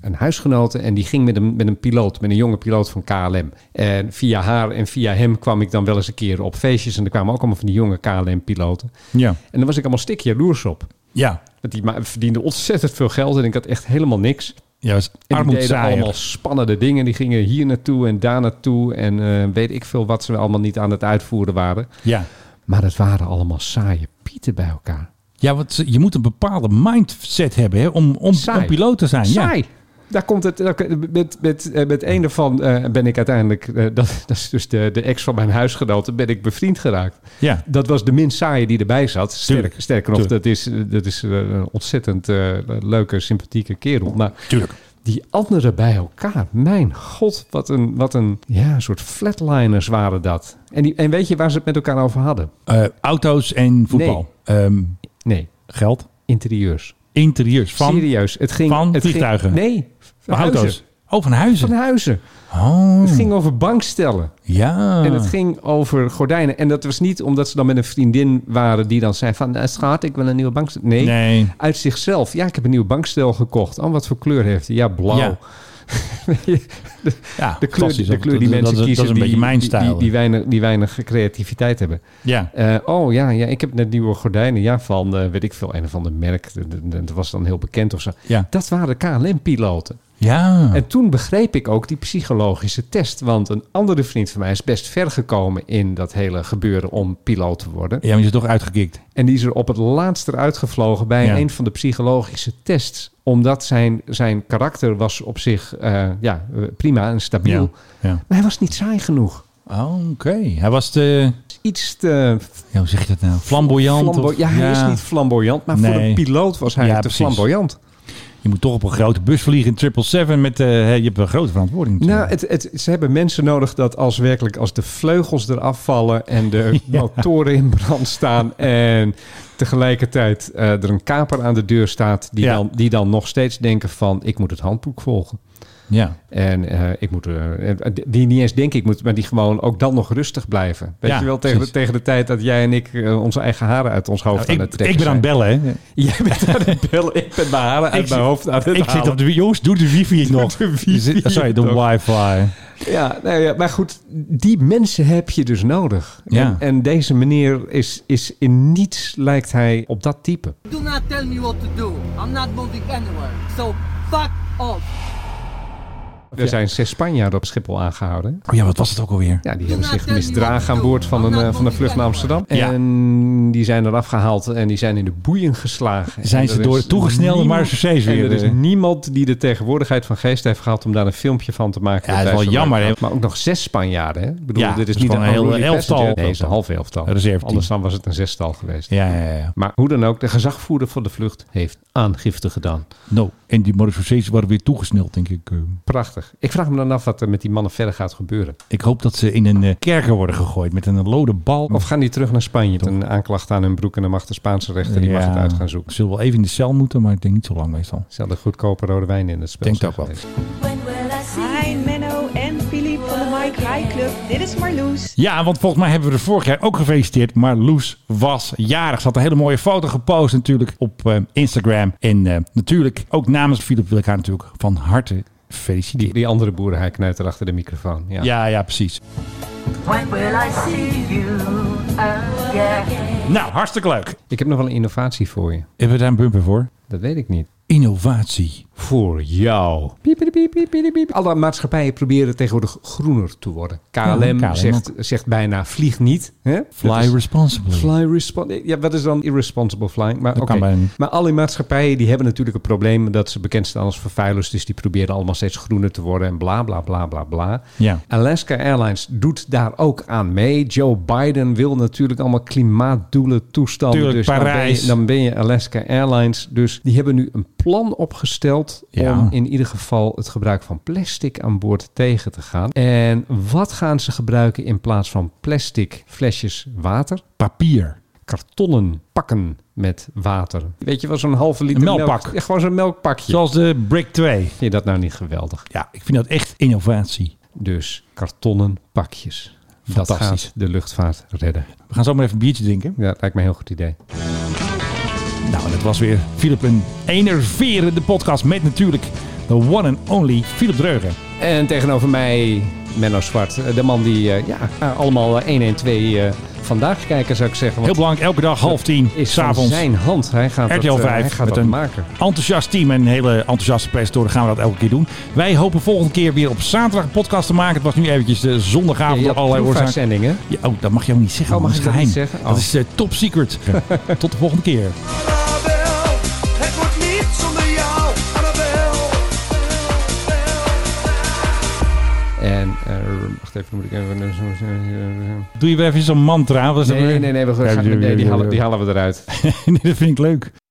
Speaker 2: een huisgenote en die ging met een, met een piloot, met een jonge piloot van KLM. En via haar en via hem kwam ik dan wel eens een keer op feestjes en er kwamen ook allemaal van die jonge KLM-piloten.
Speaker 1: ja,
Speaker 2: En daar was ik allemaal stik jaloers op.
Speaker 1: ja.
Speaker 2: Want die ma- verdienden ontzettend veel geld en ik had echt helemaal niks.
Speaker 1: Ja, dat is
Speaker 2: En die deden
Speaker 1: armoedzaaier.
Speaker 2: allemaal spannende dingen. Die gingen hier naartoe en daar naartoe. En eh, weet ik veel wat ze allemaal niet aan het uitvoeren waren.
Speaker 1: Ja.
Speaker 2: Maar het waren allemaal saaie pieten bij elkaar.
Speaker 1: ja, want ze- je moet een bepaalde mindset hebben hè, om, om,
Speaker 2: Saai.
Speaker 1: om piloot te zijn.
Speaker 2: Saai.
Speaker 1: Ah, Ja.
Speaker 2: Daar komt het, daar- met, met, eh, met een ervan eh, ben ik uiteindelijk, eh, *laughs* dat, dat is dus de, de ex van mijn huisgenoten, ben ik bevriend geraakt.
Speaker 1: Ja.
Speaker 2: Dat was de minst saaie die erbij zat. Sterk,
Speaker 1: Tuurlijk.
Speaker 2: sterker nog,
Speaker 1: Tuurlijk.
Speaker 2: dat is, dat is eh, een ontzettend eh, leuke, sympathieke kerel. Maar
Speaker 1: Tuurlijk.
Speaker 2: die anderen bij elkaar. Mijn god, wat een, wat een ja, soort flatliners waren dat. En, die, en weet je waar ze het met elkaar over hadden?
Speaker 1: Eh, auto's en voetbal. Nee.
Speaker 2: nee.
Speaker 1: Geld?
Speaker 2: Interieurs.
Speaker 1: Interieurs. Van,
Speaker 2: Serieus. Het ging,
Speaker 1: van
Speaker 2: het ging-
Speaker 1: vliegtuigen?
Speaker 2: nee. Van
Speaker 1: Van auto's.
Speaker 2: huizen.
Speaker 1: Oh, van huizen.
Speaker 2: Van huizen.
Speaker 1: Oh.
Speaker 2: Het ging over bankstellen.
Speaker 1: Ja.
Speaker 2: En het ging over gordijnen. En dat was niet omdat ze dan met een vriendin waren die dan zei van... "Nou, Schat, ik wil een nieuwe bankstel. Nee,
Speaker 1: Nee.
Speaker 2: uit zichzelf. Ja, ik heb een nieuw bankstel gekocht. Oh, wat voor kleur heeft hij? Ja, blauw.
Speaker 1: Ja. Ja,
Speaker 2: *laughs* de kleur,
Speaker 1: klassisch.
Speaker 2: de kleur
Speaker 1: Dat- dat-
Speaker 2: die mensen
Speaker 1: dat is- dat is
Speaker 2: kiezen
Speaker 1: een
Speaker 2: die,
Speaker 1: beetje mijn
Speaker 2: die- die-
Speaker 1: stijl.
Speaker 2: Die, weinig, die weinig creativiteit hebben.
Speaker 1: Ja.
Speaker 2: Eh, oh ja, ja, ik heb net nieuwe gordijnen. Ja, van eh, weet ik veel, een of ander merk. Dat- dat- Dat was dan heel bekend of zo.
Speaker 1: Ja.
Speaker 2: Dat waren KLM-piloten.
Speaker 1: Ja.
Speaker 2: En toen begreep ik ook die psychologische test. Want een andere vriend van mij is best ver gekomen in dat hele gebeuren om piloot te worden.
Speaker 1: Ja, maar je is toch uitgekikt.
Speaker 2: En die is er op het laatst eruit gevlogen bij
Speaker 1: Ja.
Speaker 2: een van de psychologische tests. Omdat zijn, zijn karakter was op zich eh, ja, eh, prima en stabiel.
Speaker 1: Ja. ja.
Speaker 2: Maar hij was niet saai genoeg.
Speaker 1: Oh, Oké. Hij was de...
Speaker 2: Iets te
Speaker 1: Ja, hoe zeg je dat nou? Flamboyant?
Speaker 2: flambo-
Speaker 1: of-
Speaker 2: Ja, hij is niet flamboyant, maar voor
Speaker 1: Nee.
Speaker 2: een piloot was hij
Speaker 1: Ja,
Speaker 2: te
Speaker 1: precies.
Speaker 2: flamboyant.
Speaker 1: Je moet toch op een grote bus vliegen in 777 met... eh, je hebt een grote verantwoording.
Speaker 2: Nou, het, het, ze hebben mensen nodig dat als werkelijk als de vleugels eraf vallen
Speaker 1: *laughs*
Speaker 2: en de motoren in brand staan en tegelijkertijd eh, er een kaper aan de deur staat die,
Speaker 1: Ja.
Speaker 2: dan, die dan nog steeds denken van ik moet het handboek volgen.
Speaker 1: Ja.
Speaker 2: En eh, ik moet eh, eh, die niet eens denken, ik moet, maar die gewoon ook dan nog rustig blijven. Weet
Speaker 1: Ja,
Speaker 2: je wel, tegen de,
Speaker 1: precies.
Speaker 2: tegen de tijd dat jij en ik eh, onze eigen haren uit ons hoofd
Speaker 1: Nou,
Speaker 2: aan
Speaker 1: ik,
Speaker 2: het trekken
Speaker 1: ik ben aan het
Speaker 2: zijn.
Speaker 1: bellen, hè.
Speaker 2: *laughs* Jij bent aan het bellen, ik ben mijn haren uit
Speaker 1: Ik
Speaker 2: mijn
Speaker 1: zit-
Speaker 2: hoofd aan het
Speaker 1: Ik
Speaker 2: halen.
Speaker 1: zit
Speaker 2: *laughs*
Speaker 1: op de... wi- Jongens, doe de wifi nog.
Speaker 2: de wifi
Speaker 1: Je zit- Sorry, de
Speaker 2: nog.
Speaker 1: wifi.
Speaker 2: Ja, nou ja, maar goed, die mensen heb je dus nodig.
Speaker 1: Ja.
Speaker 2: En, en deze meneer is, is in niets lijkt hij op dat type.
Speaker 13: Do not tell me what to do. I'm not moving anywhere. So fuck off.
Speaker 2: Er zijn zes Spanjaarden op Schiphol aangehouden.
Speaker 1: Oh ja, wat was het ook alweer?
Speaker 2: Ja, die hebben zich misdragen aan boord van een, eh, van een vlucht naar Amsterdam.
Speaker 1: Ja.
Speaker 2: En die zijn eraf gehaald en die zijn in de boeien geslagen.
Speaker 1: Zijn
Speaker 2: En
Speaker 1: ze
Speaker 2: er
Speaker 1: door
Speaker 2: is
Speaker 1: toegesnelde
Speaker 2: niemand-
Speaker 1: Marseille's
Speaker 2: En
Speaker 1: weer,
Speaker 2: er is
Speaker 1: eh.
Speaker 2: niemand die de tegenwoordigheid van geest heeft gehad om daar een filmpje van te
Speaker 1: Ja,
Speaker 2: maken.
Speaker 1: dat is
Speaker 2: Tijdens
Speaker 1: wel
Speaker 2: de
Speaker 1: jammer, hè.
Speaker 2: Maar ook nog zes Spanjaarden, hè? Ik bedoel,
Speaker 1: Ja,
Speaker 2: dit is
Speaker 1: dus
Speaker 2: niet een
Speaker 1: gewoon een heel
Speaker 2: unruly
Speaker 1: elftal.
Speaker 2: passenger. Nee, het is een half elftal.
Speaker 1: Een reserveteam.
Speaker 2: Anders dan was het een zestal geweest.
Speaker 1: Ja, ja, ja.
Speaker 2: Maar hoe dan ook, de gezagvoerder van de vlucht heeft aangifte gedaan.
Speaker 1: Nou, en die Marseille's waren weer toegesneld, denk ik. eh.
Speaker 2: Prachtig. Ik vraag me dan af wat er met die mannen verder gaat gebeuren.
Speaker 1: Ik hoop dat ze in een eh, kerker worden gegooid met een loden bal.
Speaker 2: Of gaan die terug naar Spanje? Met een aanklacht aan hun broek en dan mag de Spaanse rechter die mag het uit gaan zoeken.
Speaker 1: Zullen wel even in de cel moeten, maar ik denk niet zo lang meestal.
Speaker 2: Zal de goedkope rode wijn in het spel
Speaker 1: Denk
Speaker 2: zijn
Speaker 1: het ook wel.
Speaker 2: geweest.
Speaker 15: Hi Menno en Filip van de Mike High Club. Dit is Marloes.
Speaker 1: Ja, want volgens mij hebben we er vorig jaar ook gefeliciteerd. Maar Loes was jarig. Ze had een hele mooie foto gepost natuurlijk op eh, Instagram. En eh, natuurlijk, ook namens Philip wil ik haar natuurlijk van harte feliciteren.
Speaker 2: Die, die andere boeren, hij knijt er achter de microfoon. Ja.
Speaker 1: Ja, ja, precies.
Speaker 16: When will I see you again?
Speaker 1: Nou, hartstikke leuk.
Speaker 2: Ik heb nog wel een innovatie voor je.
Speaker 1: Hebben we daar een bumper voor?
Speaker 2: Dat weet ik niet.
Speaker 1: Innovatie.
Speaker 2: Voor jou. Piep, piep, piep, piep, piep, piep. Alle maatschappijen proberen tegenwoordig groener te worden. KLM,
Speaker 1: Ja, KLM
Speaker 2: zegt, zegt bijna vlieg niet. Hè? Dat
Speaker 1: Fly
Speaker 2: is-
Speaker 1: responsibly.
Speaker 2: Fly respon- Ja, wat is dan irresponsible flying? Maar,
Speaker 1: Hmm. Dat
Speaker 2: oké.
Speaker 1: kan bijna niet.
Speaker 2: maar alle maatschappijen die hebben natuurlijk een probleem dat ze bekend staan als vervuilers. Dus die proberen allemaal steeds groener te worden en bla bla bla bla bla.
Speaker 1: Ja.
Speaker 2: Alaska Airlines doet daar ook aan mee. Joe Biden wil natuurlijk allemaal klimaatdoelen, toestanden. dus
Speaker 1: Tuurlijk,
Speaker 2: dan ben je-
Speaker 1: Parijs.
Speaker 2: Dan ben, je, Alaska Airlines. Dus die hebben nu een plan opgesteld
Speaker 1: Ja.
Speaker 2: om in ieder geval het gebruik van plastic aan boord tegen te gaan. En wat gaan ze gebruiken in plaats van plastic flesjes water?
Speaker 1: Papier.
Speaker 2: kartonnen pakken met water. Weet je wel, zo'n halve liter
Speaker 1: Een melkpak.
Speaker 2: melk- Ja, gewoon zo'n melkpakje.
Speaker 1: Zoals de Brick 2.
Speaker 2: Vind je dat nou niet geweldig?
Speaker 1: Ja, ik vind dat echt innovatie.
Speaker 2: Dus kartonnen pakjes. Dat
Speaker 1: Fantastisch.
Speaker 2: gaat de luchtvaart redden.
Speaker 1: We gaan zo maar even een biertje drinken.
Speaker 2: Ja, lijkt me een heel goed idee.
Speaker 1: Nou, en dat was weer Philip een enerverende podcast met natuurlijk de one and only Philip Dreugen.
Speaker 2: En tegenover mij Menno Zwart. De man die eh, ja, allemaal eh, 112 eh, vandaag kijken, zou ik zeggen.
Speaker 1: Heel
Speaker 2: want
Speaker 1: belangrijk, elke dag half tien,
Speaker 2: is van
Speaker 1: s'avonds.
Speaker 2: zijn hand. Hij gaat het,
Speaker 1: RTL 5
Speaker 2: eh, hij gaat
Speaker 1: met
Speaker 2: dat
Speaker 1: een
Speaker 2: maken.
Speaker 1: enthousiast team en een hele enthousiaste presentatoren gaan we dat elke keer doen. Wij hopen volgende keer weer op zaterdag een podcast te maken. Het was nu eventjes de zondagavond
Speaker 2: Ja,
Speaker 1: door allerlei oorzaken.
Speaker 2: proefuitzendingen.
Speaker 1: Ja, oh, dat mag je ook niet zeggen.
Speaker 2: Oh, mag
Speaker 1: dat is
Speaker 2: ik dat
Speaker 1: geheim.
Speaker 2: niet zeggen? Oh.
Speaker 1: Dat is eh, top
Speaker 2: *laughs*
Speaker 1: secret. Tot de volgende keer.
Speaker 14: Annabel, het wordt niet zonder jou, Annabel.
Speaker 2: En, eh, wacht even, moet ik even...
Speaker 1: Doe je weer even zo'n mantra?
Speaker 2: Nee, nee, nee, we gaan, nee die, halen, die halen we eruit.
Speaker 1: *laughs* nee, dat vind ik leuk.